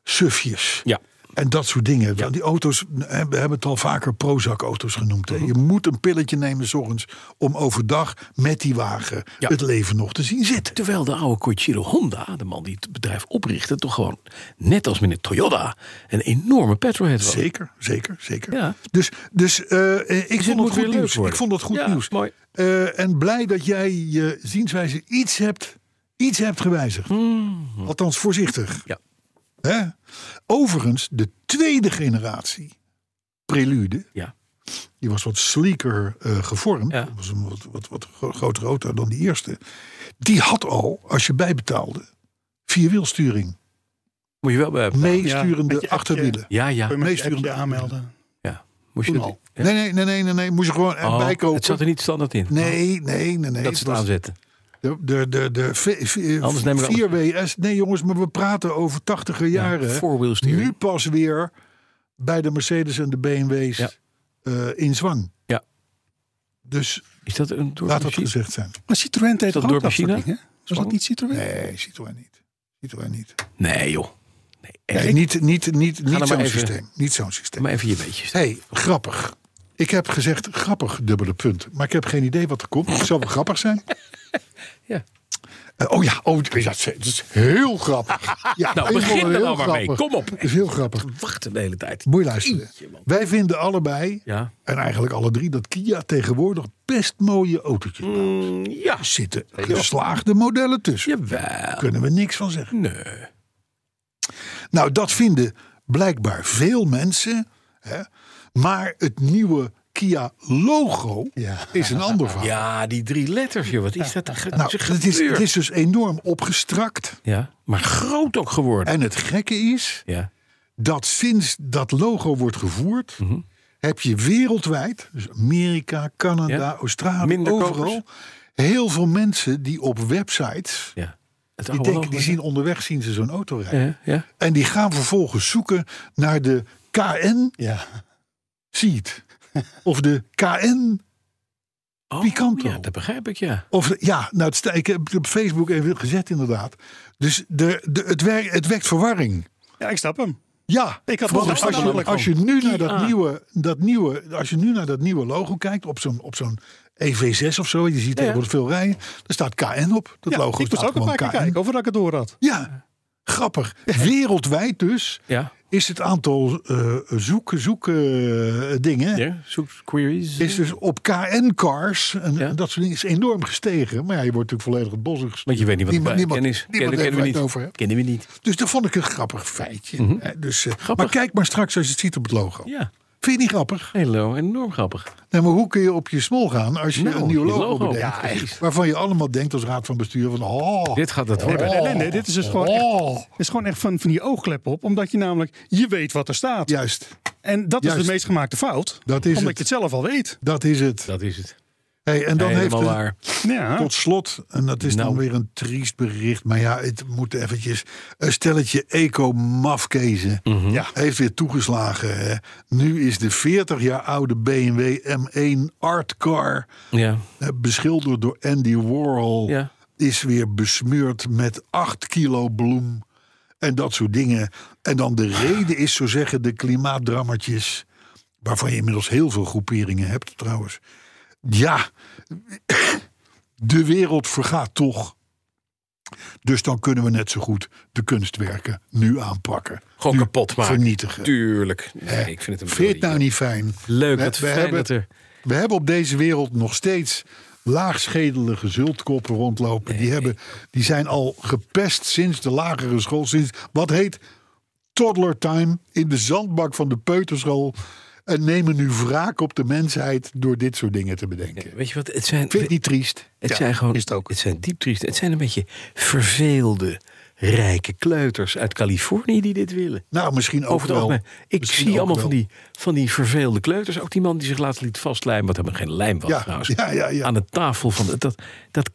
Speaker 2: sufjes.
Speaker 3: Ja.
Speaker 2: En dat soort dingen. Want Die auto's, hè, we hebben het al vaker Prozac-auto's genoemd.
Speaker 3: Mhm.
Speaker 2: Hè. Je moet een pilletje nemen 's ochtends om overdag met die wagen
Speaker 3: Ja.
Speaker 2: het leven nog te zien zitten.
Speaker 3: Terwijl de oude Koichiro Honda, de man die het bedrijf oprichtte... toch gewoon, net als meneer Toyota, een enorme petrolhead was.
Speaker 2: Zeker, zeker, zeker.
Speaker 3: Ja.
Speaker 2: Dus, dus eh, eh, ik, vond
Speaker 3: moet
Speaker 2: het
Speaker 3: weer
Speaker 2: goed
Speaker 3: leuk
Speaker 2: nieuws. ik
Speaker 3: worden.
Speaker 2: vond dat goed
Speaker 3: Ja,
Speaker 2: nieuws.
Speaker 3: mooi.
Speaker 2: Eh, en blij dat jij je zienswijze iets hebt, iets hebt gewijzigd.
Speaker 3: Mm.
Speaker 2: Althans voorzichtig.
Speaker 3: Hm. Ja.
Speaker 2: Hè? Overigens, de tweede generatie prelude,
Speaker 3: Ja.
Speaker 2: die was wat sleeker eh, gevormd.
Speaker 3: Ja.
Speaker 2: was een wat, wat, wat gro- grotere auto dan die eerste. Die had al, als je bijbetaalde, vierwielsturing.
Speaker 3: Moet je wel bij...
Speaker 2: Meesturende
Speaker 4: met je appje.
Speaker 2: achterwielen.
Speaker 3: Ja, ja.
Speaker 4: Kun je met je
Speaker 2: meesturen.
Speaker 4: appje aanmelden.
Speaker 3: Moest je
Speaker 2: Toen
Speaker 3: dat-
Speaker 2: al. Nee, nee, nee, nee, nee, nee. Moest je gewoon
Speaker 3: Oh,
Speaker 2: erbij kopen.
Speaker 3: het zat er niet standaard in.
Speaker 2: Nee, nee, nee, nee.
Speaker 3: dat ze
Speaker 2: Het
Speaker 3: het
Speaker 2: was
Speaker 3: aanzetten.
Speaker 2: De, de, de, de v- v-
Speaker 3: Anders neem ik
Speaker 2: 4WS. Nee, jongens, maar we praten over 80er jaren.
Speaker 3: four-wheel steering.
Speaker 2: nu pas weer bij de Mercedes en de BMW's
Speaker 3: Ja.
Speaker 2: eh, in zwang.
Speaker 3: Ja.
Speaker 2: Dus
Speaker 3: Is dat een dorp?
Speaker 2: laat dat gezegd zijn.
Speaker 4: Maar Citroën deed
Speaker 3: dat
Speaker 4: toch ook
Speaker 3: door
Speaker 4: dat soort
Speaker 3: China?
Speaker 4: dingen? Was dat niet Citroën?
Speaker 2: Nee, Citroën niet. Citroën niet.
Speaker 3: Nee, joh. Nee, echt.
Speaker 2: Nee, niet niet, niet,
Speaker 3: dan
Speaker 2: niet
Speaker 3: maar
Speaker 2: zo'n
Speaker 3: even-
Speaker 2: systeem. Niet zo'n systeem.
Speaker 3: Maar even je beetjes.
Speaker 2: hey, grappig. Ik heb gezegd grappig, dubbele punt. Maar ik heb geen idee wat er komt. Het zal wel grappig zijn.
Speaker 3: Ja.
Speaker 2: Eh, oh ja, oh, ja, dat is- dat is heel grappig. Ja,
Speaker 3: Nou,
Speaker 2: ik
Speaker 3: begin
Speaker 2: vond het
Speaker 3: er
Speaker 2: heel
Speaker 3: nou maar mee.
Speaker 2: grappig.
Speaker 3: Kom op.
Speaker 2: Het is heel grappig.
Speaker 3: Wachten de hele tijd.
Speaker 2: Moet je luisteren. Wij vinden allebei,
Speaker 3: Ja.
Speaker 2: en eigenlijk alle drie, dat Kia tegenwoordig best mooie autootjes
Speaker 3: Mm.
Speaker 2: maakt.
Speaker 3: Ja.
Speaker 2: Er zitten geslaagde modellen tussen.
Speaker 3: Jawel.
Speaker 2: Daar kunnen we niks van zeggen.
Speaker 3: Nee.
Speaker 2: Nou, dat vinden blijkbaar veel mensen. Hè? Maar het nieuwe Kia-logo is een ander verhaal.
Speaker 3: Ja, die drie letters, joh. Wat is dat? er ge-
Speaker 2: Nou,
Speaker 3: ze
Speaker 2: het is,
Speaker 3: gebeurd?
Speaker 2: het is dus enorm opgestrakt.
Speaker 3: Ja, maar groot ook geworden.
Speaker 2: En het gekke is
Speaker 3: Ja.
Speaker 2: dat sinds dat logo wordt gevoerd...
Speaker 3: Mhm.
Speaker 2: heb je wereldwijd, dus Amerika, Canada,
Speaker 3: Ja.
Speaker 2: Australië,
Speaker 3: Minder
Speaker 2: overal...
Speaker 3: kopers.
Speaker 2: heel veel mensen die op websites...
Speaker 3: ja. Het
Speaker 2: die,
Speaker 3: oude
Speaker 2: denken,
Speaker 3: logo.
Speaker 2: die zien onderweg zien ze zo'n auto rijden.
Speaker 3: Ja, ja.
Speaker 2: En die gaan vervolgens zoeken naar de KN
Speaker 4: Ja.
Speaker 2: Seat. Of de KN.
Speaker 3: Oh,
Speaker 2: Picanto.
Speaker 3: Ja, dat begrijp ik, ja.
Speaker 2: Of de- ja, nou, het, sta- ik heb het op Facebook even gezet inderdaad. Dus de, de, het, wer, het wekt verwarring.
Speaker 4: Ja, ik snap hem.
Speaker 2: Ja,
Speaker 4: Ik had
Speaker 2: want
Speaker 4: nog
Speaker 2: als,
Speaker 4: een
Speaker 2: je,
Speaker 4: namelijk
Speaker 2: als je nu naar dat
Speaker 4: Ah.
Speaker 3: Kia.
Speaker 2: nieuwe, dat nieuwe, als je nu naar dat nieuwe logo kijkt op zo'n op zo'n EV6 of zo, je ziet tegenwoordig veel rijden, daar staat KN op. Dat
Speaker 4: Ja,
Speaker 2: logo
Speaker 4: ik moest
Speaker 2: staat
Speaker 4: ook een
Speaker 2: gewoon
Speaker 4: paar keer
Speaker 2: KN.
Speaker 4: kijken of ik het door had.
Speaker 2: Ja, grappig. Wereldwijd dus
Speaker 3: Ja,
Speaker 2: is het aantal eh zoek, zoek eh, dingen
Speaker 3: ja. zoek queries.
Speaker 2: is dus op KN-cars en
Speaker 3: Ja.
Speaker 2: dat soort dingen is enorm gestegen. Maar ja, je wordt natuurlijk volledig het bos ingestuurd.
Speaker 3: Want je weet niet wat
Speaker 2: Niemand-
Speaker 3: de
Speaker 2: niemand-
Speaker 3: kennis is.
Speaker 2: niemand
Speaker 3: Kennen-
Speaker 2: weet
Speaker 3: kennen we
Speaker 2: waar het
Speaker 3: niet.
Speaker 2: over hebt.
Speaker 3: Kennen we niet.
Speaker 2: Dus dat vond ik een grappig feitje. Hè, dus, eh,
Speaker 3: Mhm. Grappig.
Speaker 2: Maar kijk maar straks als je het ziet op het logo.
Speaker 3: Ja.
Speaker 2: Vind je niet grappig?
Speaker 3: Hello, enorm grappig.
Speaker 2: Nee, maar hoe kun je op je smol gaan als je
Speaker 3: Nou,
Speaker 2: een nieuw
Speaker 3: je
Speaker 2: logo,
Speaker 3: logo,
Speaker 2: bedenkt?
Speaker 3: ja, echt.
Speaker 2: Waarvan je allemaal denkt als raad van bestuur van... Oh,
Speaker 3: Dit gaat het worden.
Speaker 4: Nee, nee, nee, dit is dus gewoon echt-
Speaker 2: oh.
Speaker 4: Het is gewoon echt van, van die oogklep op, omdat je namelijk, je weet wat er staat.
Speaker 2: Juist,
Speaker 4: En dat is
Speaker 2: Juist.
Speaker 4: de meest gemaakte fout.
Speaker 2: Dat is
Speaker 4: omdat
Speaker 2: het.
Speaker 4: je het zelf al weet.
Speaker 2: dat is het.
Speaker 3: Dat is het.
Speaker 2: Hey, en dan heeft
Speaker 3: Helemaal
Speaker 2: het,
Speaker 3: waar.
Speaker 4: Ja.
Speaker 2: Tot slot, en dat is
Speaker 3: Nou.
Speaker 2: dan weer een triest bericht, maar ja, het moet eventjes. Een stelletje eco-mafkezen
Speaker 3: Mm.
Speaker 2: ja. heeft weer toegeslagen. Hè. Nu is de 40 jaar oude BMW M1 Artcar,
Speaker 3: Ja.
Speaker 2: eh, beschilderd door Andy Warhol,
Speaker 3: Ja.
Speaker 2: is weer besmeurd met 8 kilo bloem en dat soort dingen. En dan de reden is, zo zeggen de klimaatdrammertjes, waarvan je inmiddels heel veel groeperingen hebt trouwens. Ja, de wereld vergaat toch. Dus dan kunnen we net zo goed de kunstwerken nu aanpakken.
Speaker 3: Gewoon
Speaker 2: Nu
Speaker 3: kapot maken.
Speaker 2: Vernietigen.
Speaker 3: Tuurlijk. Nee, ik vind het een
Speaker 2: Vind je het nou
Speaker 3: briljant.
Speaker 2: niet fijn?
Speaker 3: Leuk,
Speaker 2: We-
Speaker 3: wat
Speaker 2: we
Speaker 3: fijn
Speaker 2: hebben-
Speaker 3: dat er...
Speaker 2: We hebben op deze wereld nog steeds laagschedelige zultkoppen rondlopen. Die, hebben, die zijn al gepest sinds de lagere school. Sinds wat heet toddler time in de zandbak van de peuterschool. En nemen nu wraak op de mensheid door dit soort dingen te bedenken.
Speaker 3: Weet je wat, het zijn...
Speaker 2: Vind je het niet triest?
Speaker 3: Het zijn gewoon, het, zijn diep triest. Het zijn een beetje verveelde, rijke kleuters uit Californië die dit willen.
Speaker 2: Nou, misschien ook
Speaker 3: Over het
Speaker 2: wel.
Speaker 3: algemeen. Ik
Speaker 2: Misschien ook
Speaker 3: zie allemaal
Speaker 2: wel.
Speaker 3: van die, van die verveelde kleuters. Ook die man die zich laatst liet vastlijmen. Wat helemaal geen lijm was
Speaker 2: Ja,
Speaker 3: Oh, trouwens.
Speaker 2: ja, ja, ja.
Speaker 3: Aan de tafel van... de- Dat, dat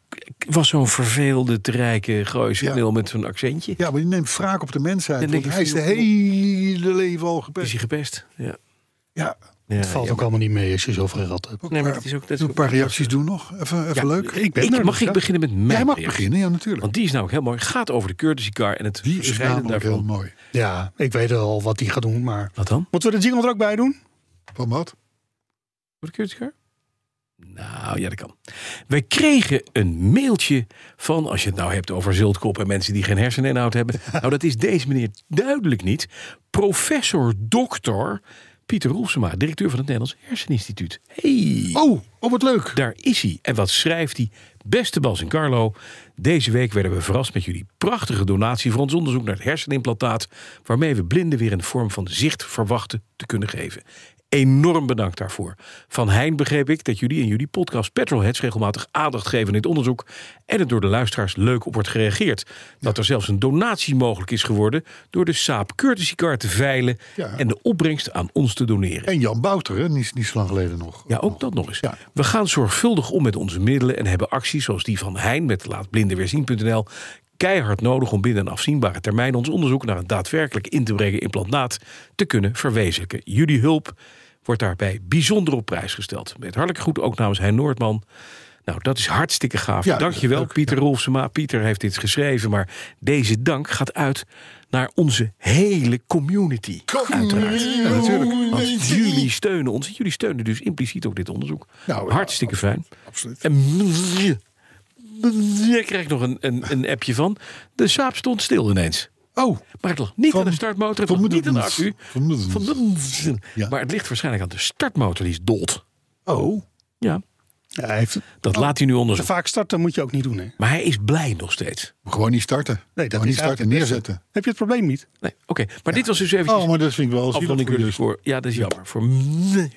Speaker 3: was zo'n verveelde, te rijke gozer.
Speaker 2: Ja.
Speaker 3: heel Met zo'n accentje.
Speaker 2: Ja, maar die neemt wraak op de mensheid.
Speaker 3: Dan
Speaker 2: Want
Speaker 3: denk
Speaker 2: hij
Speaker 3: ik
Speaker 2: is de
Speaker 3: van,
Speaker 2: hele leven al
Speaker 3: Is hij
Speaker 2: gepest.
Speaker 3: gepest? Ja.
Speaker 2: Ja,
Speaker 3: ja
Speaker 4: Het valt ook allemaal niet mee als je zoveel geld hebt.
Speaker 3: Nee, maar het is ook... Dat is
Speaker 2: een paar reacties doen nog. Even, even leuk.
Speaker 4: Ik ben
Speaker 3: Ik,
Speaker 4: er,
Speaker 3: mag
Speaker 4: dus
Speaker 3: ik
Speaker 4: ja.
Speaker 3: beginnen met mijn
Speaker 2: Jij mag
Speaker 3: reactie?
Speaker 2: beginnen, ja natuurlijk.
Speaker 3: Want die is namelijk heel mooi. Gaat over de courtesy car en het
Speaker 2: Die is
Speaker 3: verschijnen
Speaker 2: namelijk heel
Speaker 3: daarvan.
Speaker 2: mooi.
Speaker 4: Ja, ik weet al wat die gaat doen, maar...
Speaker 3: Wat dan?
Speaker 4: Moeten we de jingle er ook bij doen?
Speaker 2: Van wat?
Speaker 3: Voor de courtesy car? Nou, ja, dat kan. Wij kregen een mailtje van, als je het nou hebt over ziltkop en mensen die geen herseninhoud hebben. nou, dat is deze meneer duidelijk niet. Professor dokter Pieter Roelsema, directeur van het Nederlands Herseninstituut. Hey.
Speaker 2: Oh, oh wat leuk.
Speaker 3: Daar is hij. En wat schrijft hij? Beste Bas en Carlo, deze week werden we verrast met jullie prachtige donatie voor ons onderzoek naar het hersenimplantaat, waarmee we blinden weer een vorm van zicht verwachten te kunnen geven. enorm bedankt daarvoor. Van Hein begreep ik dat jullie in jullie podcast Petrolheads regelmatig aandacht geven in dit onderzoek. En het door de luisteraars leuk op wordt gereageerd. Dat er zelfs een donatie mogelijk is geworden door de Saab Courtesy Car te veilen.
Speaker 2: Ja.
Speaker 3: En de opbrengst aan ons te doneren.
Speaker 2: En Jan Bouter, hè, niet, niet zo lang geleden nog.
Speaker 3: Ja, ook dat nog eens.
Speaker 2: Ja.
Speaker 3: We gaan zorgvuldig om met onze middelen en hebben acties zoals die van Hein met laatblindenweerzien.nl keihard nodig om binnen een afzienbare termijn ons onderzoek naar een daadwerkelijk in te brengen implantaat te kunnen verwezenlijken. Jullie hulp wordt daarbij bijzonder op prijs gesteld. Met hartelijk goed ook namens Hein Noordman. Nou, dat is hartstikke gaaf.
Speaker 2: Ja,
Speaker 3: Dankjewel,
Speaker 2: leuk,
Speaker 3: Pieter Rolfsema. Pieter heeft dit geschreven, maar deze dank gaat uit naar onze hele community. Uiteraard. Ja, natuurlijk. Want jullie steunen ons. Jullie steunen dus impliciet ook dit onderzoek.
Speaker 2: Nou, ja,
Speaker 3: Hartstikke fijn.
Speaker 2: absoluut.
Speaker 3: En daar krijg ik nog een, een, een appje van. De saap stond stil ineens.
Speaker 2: Oh,
Speaker 3: Maar het lag niet
Speaker 2: Van-
Speaker 3: aan de startmotor, het lag niet aan de accu.
Speaker 2: vermoedens.
Speaker 3: Van de-
Speaker 2: Ja.
Speaker 3: Maar het ligt waarschijnlijk aan de startmotor, die is dood.
Speaker 2: oh.
Speaker 3: Ja,
Speaker 4: Ja, hij heeft,
Speaker 3: dat laat hij nu
Speaker 4: te
Speaker 3: onderzoeken.
Speaker 4: vaak starten moet je ook niet doen. Hè?
Speaker 3: Maar hij is blij nog steeds.
Speaker 2: Gewoon niet starten.
Speaker 4: Nee, dat
Speaker 2: Gewoon
Speaker 4: is
Speaker 2: niet starten,
Speaker 4: eigenlijk
Speaker 2: neerzetten.
Speaker 4: Heb je het probleem niet?
Speaker 3: Nee, oké. Maar dit was dus eventjes
Speaker 2: Oh, maar dat vind ik wel zielig
Speaker 3: afronding
Speaker 2: voor
Speaker 3: cursus voor... Ja, dat is jammer. Voor...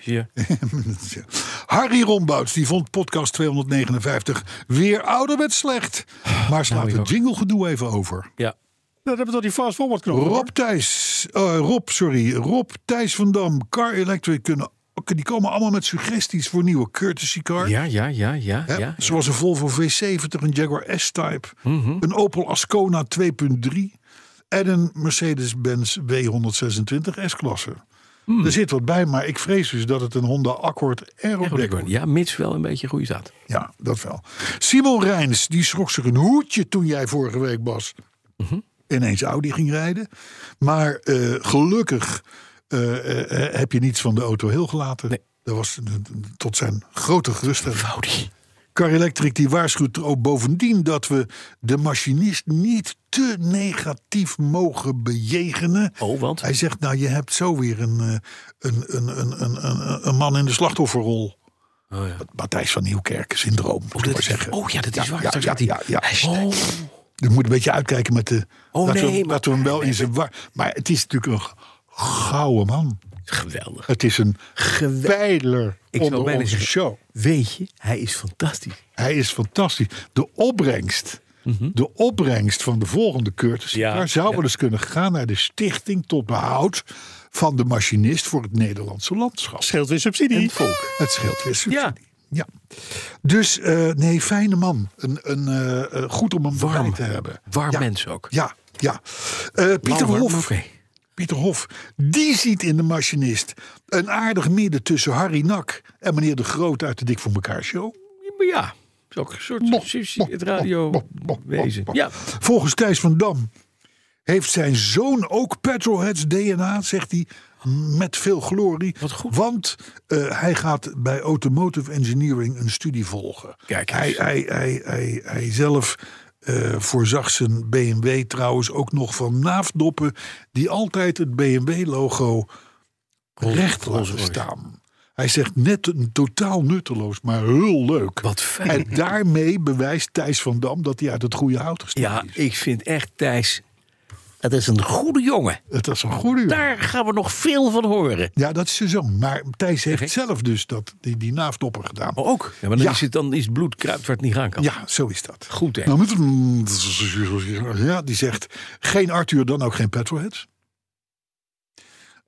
Speaker 3: Ja.
Speaker 2: Ja. Harry Rombouts die vond podcast 259 weer ouderwets slecht. Maar slaat
Speaker 3: Nou, ik ook.
Speaker 2: het jinglegedoe even over.
Speaker 3: ja.
Speaker 4: Dat hebben we toch die fast forward knop.
Speaker 2: Rob Thijs, eh, Rob, sorry, Rob Thijs van Dam, Car Electric kunnen, die komen allemaal met suggesties voor nieuwe courtesy car.
Speaker 3: Ja, ja, ja, ja,
Speaker 2: Hè?
Speaker 3: ja. Mhm.
Speaker 2: Zoals een Volvo V70, een Jaguar S-Type, een Opel Ascona 2.3 en een Mercedes-Benz W126 S-klasse.
Speaker 3: Hmm.
Speaker 2: Er zit wat bij, maar ik vrees dus dat het een Honda Accord Aerodeck wordt.
Speaker 3: Ja, mits wel een beetje goede zaad.
Speaker 2: Ja, dat wel. Simon Rijns, die schrok zich een hoedje toen jij vorige week, Bas, ineens Audi ging rijden. Maar eh, gelukkig eh, eh, heb je niets van de auto heel gelaten.
Speaker 3: Nee.
Speaker 2: Dat was eh, tot zijn grote geruststelling.
Speaker 3: Audi.
Speaker 2: Car Electric die waarschuwt er ook bovendien dat we de machinist niet te negatief mogen bejegenen.
Speaker 3: Oh, want?
Speaker 2: Hij zegt, nou je hebt zo weer een, eh, een, een, een, een, een, een man in de slachtofferrol.
Speaker 3: Oh, ja.
Speaker 2: Matthijs van Nieuwkerk, syndroom, moet ik
Speaker 3: dat
Speaker 2: maar
Speaker 3: is-
Speaker 2: zeggen.
Speaker 3: oh ja, dat is waar.
Speaker 2: Ja,
Speaker 3: Straks
Speaker 2: ja,
Speaker 3: gaat hij-
Speaker 2: ja, ja.
Speaker 3: Hashtag.
Speaker 2: Je moet een beetje uitkijken met de...
Speaker 3: Oh,
Speaker 2: dat,
Speaker 3: nee,
Speaker 2: we,
Speaker 3: maar-
Speaker 2: dat we hem wel in zijn... war- Maar het is natuurlijk een gouden man.
Speaker 3: Geweldig.
Speaker 2: Het is een pijler
Speaker 3: Ik zou
Speaker 2: onder
Speaker 3: bijna
Speaker 2: onze
Speaker 3: zeggen-
Speaker 2: show.
Speaker 3: Weet je, hij is fantastisch.
Speaker 2: Hij is fantastisch. De opbrengst, de opbrengst van de volgende Curtis
Speaker 3: Mhm. Ja,
Speaker 2: daar zou
Speaker 3: ja.
Speaker 2: wel eens kunnen gaan naar de stichting tot behoud van de machinist voor het Nederlandse landschap.
Speaker 4: Scheelt weer subsidie.
Speaker 3: En volk.
Speaker 2: Het scheelt weer subsidie.
Speaker 3: Ja.
Speaker 2: Ja. Dus eh, nee, fijne man. Een, een, eh, eh, goed om hem bij
Speaker 3: Warm.
Speaker 2: te hebben.
Speaker 3: eh, Warm
Speaker 2: ja.
Speaker 3: mens ook.
Speaker 2: Ja, ja. Eh, Pieter
Speaker 3: Lauw, warm,
Speaker 2: Hof.
Speaker 3: oké.
Speaker 2: Pieter Hof, die ziet in de machinist een aardig midden tussen Harry Nak en meneer De Groot uit de Dik voor elkaar show.
Speaker 3: Maar ja, het is ook een soort
Speaker 2: Bo-
Speaker 3: subsidie-
Speaker 2: bo-
Speaker 3: het
Speaker 2: bo- bo- bo-
Speaker 3: radiowezen.
Speaker 2: bo-
Speaker 3: Ja,
Speaker 2: Volgens Thijs van Dam heeft zijn zoon ook Petrolheads DNA, zegt hij, met veel glorie.
Speaker 3: Wat goed.
Speaker 2: Want eh, hij gaat bij Automotive Engineering een studie volgen.
Speaker 3: Kijk
Speaker 2: hij,
Speaker 3: eens.
Speaker 2: hij, hij, hij, hij zelf eh, voorzag zijn BMW trouwens ook nog van naafdoppen... die altijd het BMW-logo recht
Speaker 3: Rolls
Speaker 2: laten
Speaker 3: Royce.
Speaker 2: staan. Hij zegt net een totaal nutteloos, maar heel leuk.
Speaker 3: wat fijn.
Speaker 2: En daarmee bewijst Thijs van Dam dat hij uit het goede hout gestaan
Speaker 3: ja,
Speaker 2: is.
Speaker 3: ik vind echt Thijs, het is een goede jongen.
Speaker 2: Het is een goede jongen.
Speaker 3: Daar gaan we nog veel van horen.
Speaker 2: Ja, dat is zijn zoon. Maar Thijs heeft
Speaker 3: Oké.
Speaker 2: zelf dus dat, die, die naafdopper gedaan.
Speaker 3: Maar ook. Ja, maar dan,
Speaker 2: Ja.
Speaker 3: Is het, dan is het bloed kruipt waar het niet gaan kan.
Speaker 2: Ja, zo is dat.
Speaker 3: Goed, hè?
Speaker 2: Nou, moet het- ja, die zegt, geen Arthur, dan ook geen Petrolheads.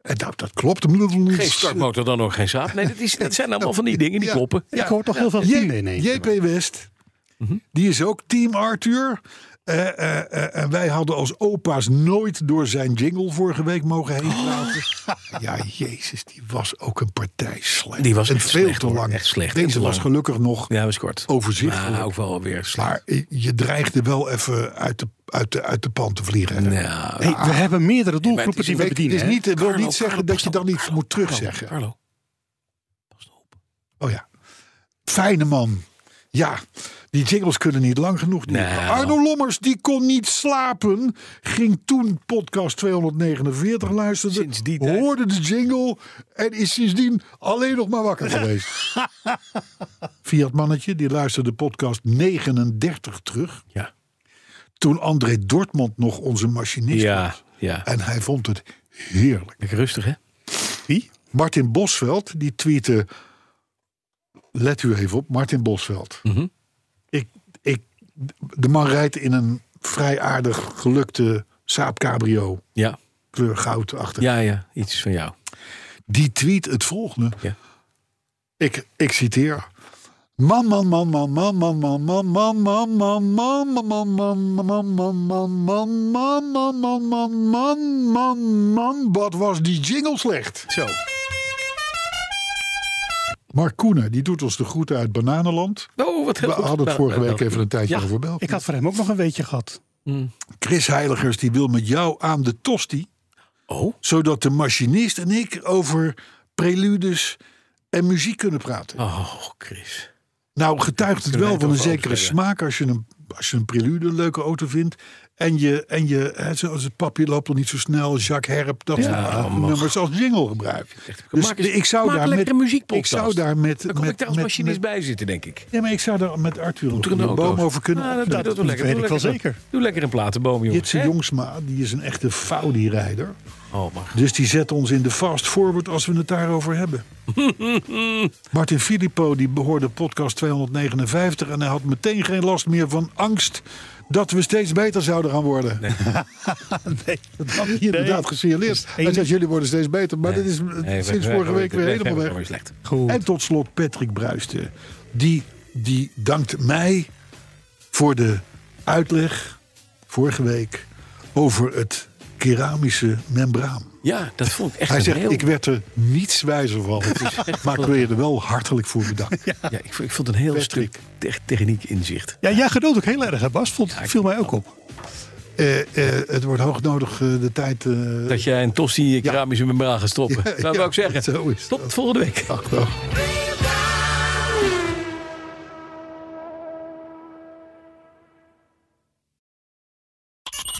Speaker 2: En nou, dat klopt.
Speaker 3: Geen startmotor, dan ook geen zaad. Nee, dat, is, dat zijn allemaal van die dingen die
Speaker 2: Ja.
Speaker 3: kloppen.
Speaker 4: Ik hoor toch heel veel
Speaker 2: J-
Speaker 4: vrienden ineens.
Speaker 2: JP West,
Speaker 3: Mhm.
Speaker 2: die is ook team Arthur. Eh, eh, eh, en wij hadden als opa's nooit door zijn jingle vorige week mogen heen
Speaker 3: Oh.
Speaker 2: praten. Ja, jezus, die was ook een partij slecht.
Speaker 3: Die was
Speaker 2: en
Speaker 3: echt
Speaker 2: veel
Speaker 3: slecht,
Speaker 2: te
Speaker 3: hoor.
Speaker 2: lang.
Speaker 3: Echt slecht en
Speaker 2: Deze
Speaker 3: te
Speaker 2: was
Speaker 3: lang.
Speaker 2: gelukkig nog
Speaker 3: Ja, was kort.
Speaker 2: Oh, overzichtelijk.
Speaker 3: Maar ook wel weer slaap.
Speaker 2: Maar je dreigde wel even uit de, uit de, uit de pan te vliegen.
Speaker 3: Nou,
Speaker 4: Hey, we hebben meerdere
Speaker 3: maar het
Speaker 4: doelgroepen
Speaker 3: is
Speaker 4: die
Speaker 3: een
Speaker 4: we
Speaker 2: Ik, het
Speaker 4: bedienen.
Speaker 2: is
Speaker 4: hè?
Speaker 2: dus niet, het wil
Speaker 3: Carlo,
Speaker 2: niet zeggen
Speaker 3: Carlo,
Speaker 2: dat je
Speaker 3: pas
Speaker 2: dan
Speaker 3: op,
Speaker 2: niet moet
Speaker 3: Carlo,
Speaker 2: terugzeggen.
Speaker 3: Carlo, pas op.
Speaker 2: Oh ja. Fijne man. Ja, die jingles kunnen niet lang genoeg duren.
Speaker 3: Nou.
Speaker 2: Arno Lommers, die kon niet slapen. Ging toen podcast 249 luisteren.
Speaker 3: Sinds die tijd.
Speaker 2: Hoorde de jingle. En is sindsdien alleen nog maar wakker geweest. Fiat Mannetje, die luisterde podcast 39 terug.
Speaker 3: Ja,
Speaker 2: Toen André Dortmund nog onze machinist
Speaker 3: ja,
Speaker 2: was.
Speaker 3: ja.
Speaker 2: En hij vond het heerlijk.
Speaker 3: Lekker rustig, hè?
Speaker 4: Wie?
Speaker 2: Martin Bosveld, die tweette... Let u even op, Martin Bosveld.
Speaker 3: Mhm.
Speaker 2: ik, ik, de man rijdt in een vrij aardig gelukte Saab Cabrio.
Speaker 3: Ja.
Speaker 2: Kleur goud achter.
Speaker 3: ja, ja, iets van jou.
Speaker 2: Die tweet het volgende.
Speaker 3: Ja.
Speaker 2: Ik, ik citeer. Man, man, man, man, man, man, man, man, man, man, man, man, man, man, man, man, man, man, man, man, man, man, man, man, man. Wat was die jingle slecht?
Speaker 3: Zo.
Speaker 2: Mark Koenen, die doet ons de groeten uit Bananenland.
Speaker 3: Oh, wat heel
Speaker 2: We
Speaker 3: goed
Speaker 2: hadden het
Speaker 3: gedaan.
Speaker 2: vorige
Speaker 3: Wel,
Speaker 2: week even een tijdje
Speaker 3: Ja.
Speaker 2: over België.
Speaker 4: Ik had voor hem ook nog een weetje gehad.
Speaker 2: Chris Heiligers die wil met jou aan de tosti.
Speaker 3: Oh,
Speaker 2: zodat de machinist en ik over preludes en muziek kunnen praten.
Speaker 3: oh, Chris.
Speaker 2: Nou, getuigt het wel
Speaker 3: Kunnen we
Speaker 2: van een
Speaker 3: het over
Speaker 2: zekere
Speaker 3: auto's
Speaker 2: smaak als je een, als je een prelude een leuke auto vindt. En je, en je hè, zoals het papje loopt al niet zo snel, Jacques Herp, dat soort
Speaker 3: oh, man.
Speaker 2: nummers als jingle gebruiken.
Speaker 3: eens-
Speaker 2: Dus ik zou
Speaker 3: maak
Speaker 2: daar
Speaker 3: lekker
Speaker 2: met,
Speaker 3: een muziekpodcast.
Speaker 2: Ik zou daar met,
Speaker 3: Daar kom
Speaker 2: met,
Speaker 3: ik daar als
Speaker 2: met-
Speaker 3: machinist
Speaker 2: met-
Speaker 3: bij zitten, denk ik.
Speaker 2: Ja, maar ik zou daar met Arthur
Speaker 3: Moet
Speaker 2: op
Speaker 3: er een
Speaker 2: de
Speaker 3: auto
Speaker 2: boom
Speaker 3: over?
Speaker 2: over kunnen. Nou,
Speaker 3: Ah,
Speaker 2: opnemen.
Speaker 3: dat doe lekker.
Speaker 4: weet
Speaker 3: Doe
Speaker 4: ik wel
Speaker 3: lekker een-
Speaker 4: zeker.
Speaker 3: Doe lekker een platenboom, jongens.
Speaker 2: Jitse
Speaker 3: hè?
Speaker 2: Jongsma, die is een echte Faudi-rijder.
Speaker 3: Oh, maar
Speaker 2: Dus die zet ons in de fast forward als we het daarover hebben. Martin Filippo die behoorde podcast 259 en hij had meteen geen last meer van angst dat we steeds beter zouden gaan worden. Dat had hij inderdaad gesignaleerd. Hij
Speaker 4: één-
Speaker 2: zegt jullie worden steeds beter, maar dat is eh,
Speaker 3: Dus- Nee,
Speaker 2: sinds
Speaker 3: wij-
Speaker 2: vorige
Speaker 3: wij-
Speaker 2: week
Speaker 3: wij-
Speaker 2: weer
Speaker 3: wij-
Speaker 2: helemaal
Speaker 3: wij-
Speaker 2: weg.
Speaker 3: wij- slecht.
Speaker 2: En tot slot Patrick Bruisten. Die, die dankt mij voor de uitleg vorige week over het keramische membraan.
Speaker 3: Ja, dat vond ik echt
Speaker 2: Hij
Speaker 3: een
Speaker 2: zegt,
Speaker 3: heel...
Speaker 2: ik werd er niets wijzer van. maar ik wil je er wel hartelijk voor bedanken.
Speaker 3: ja, ik, vond- ik vond een heel
Speaker 2: Patrick.
Speaker 3: stuk te- techniek inzicht.
Speaker 4: Ja, jij geduld ook heel erg, hè, Bas? Vond, viel mij ook op.
Speaker 2: Eh, eh, het wordt hoog nodig eh, de tijd... eh,
Speaker 3: Dat jij een tos in je keramische membraan gaat stoppen.
Speaker 2: Ja,
Speaker 3: dat
Speaker 2: ja,
Speaker 3: wou ik zeggen.
Speaker 2: zo is het.
Speaker 3: Tot volgende week.
Speaker 2: achter.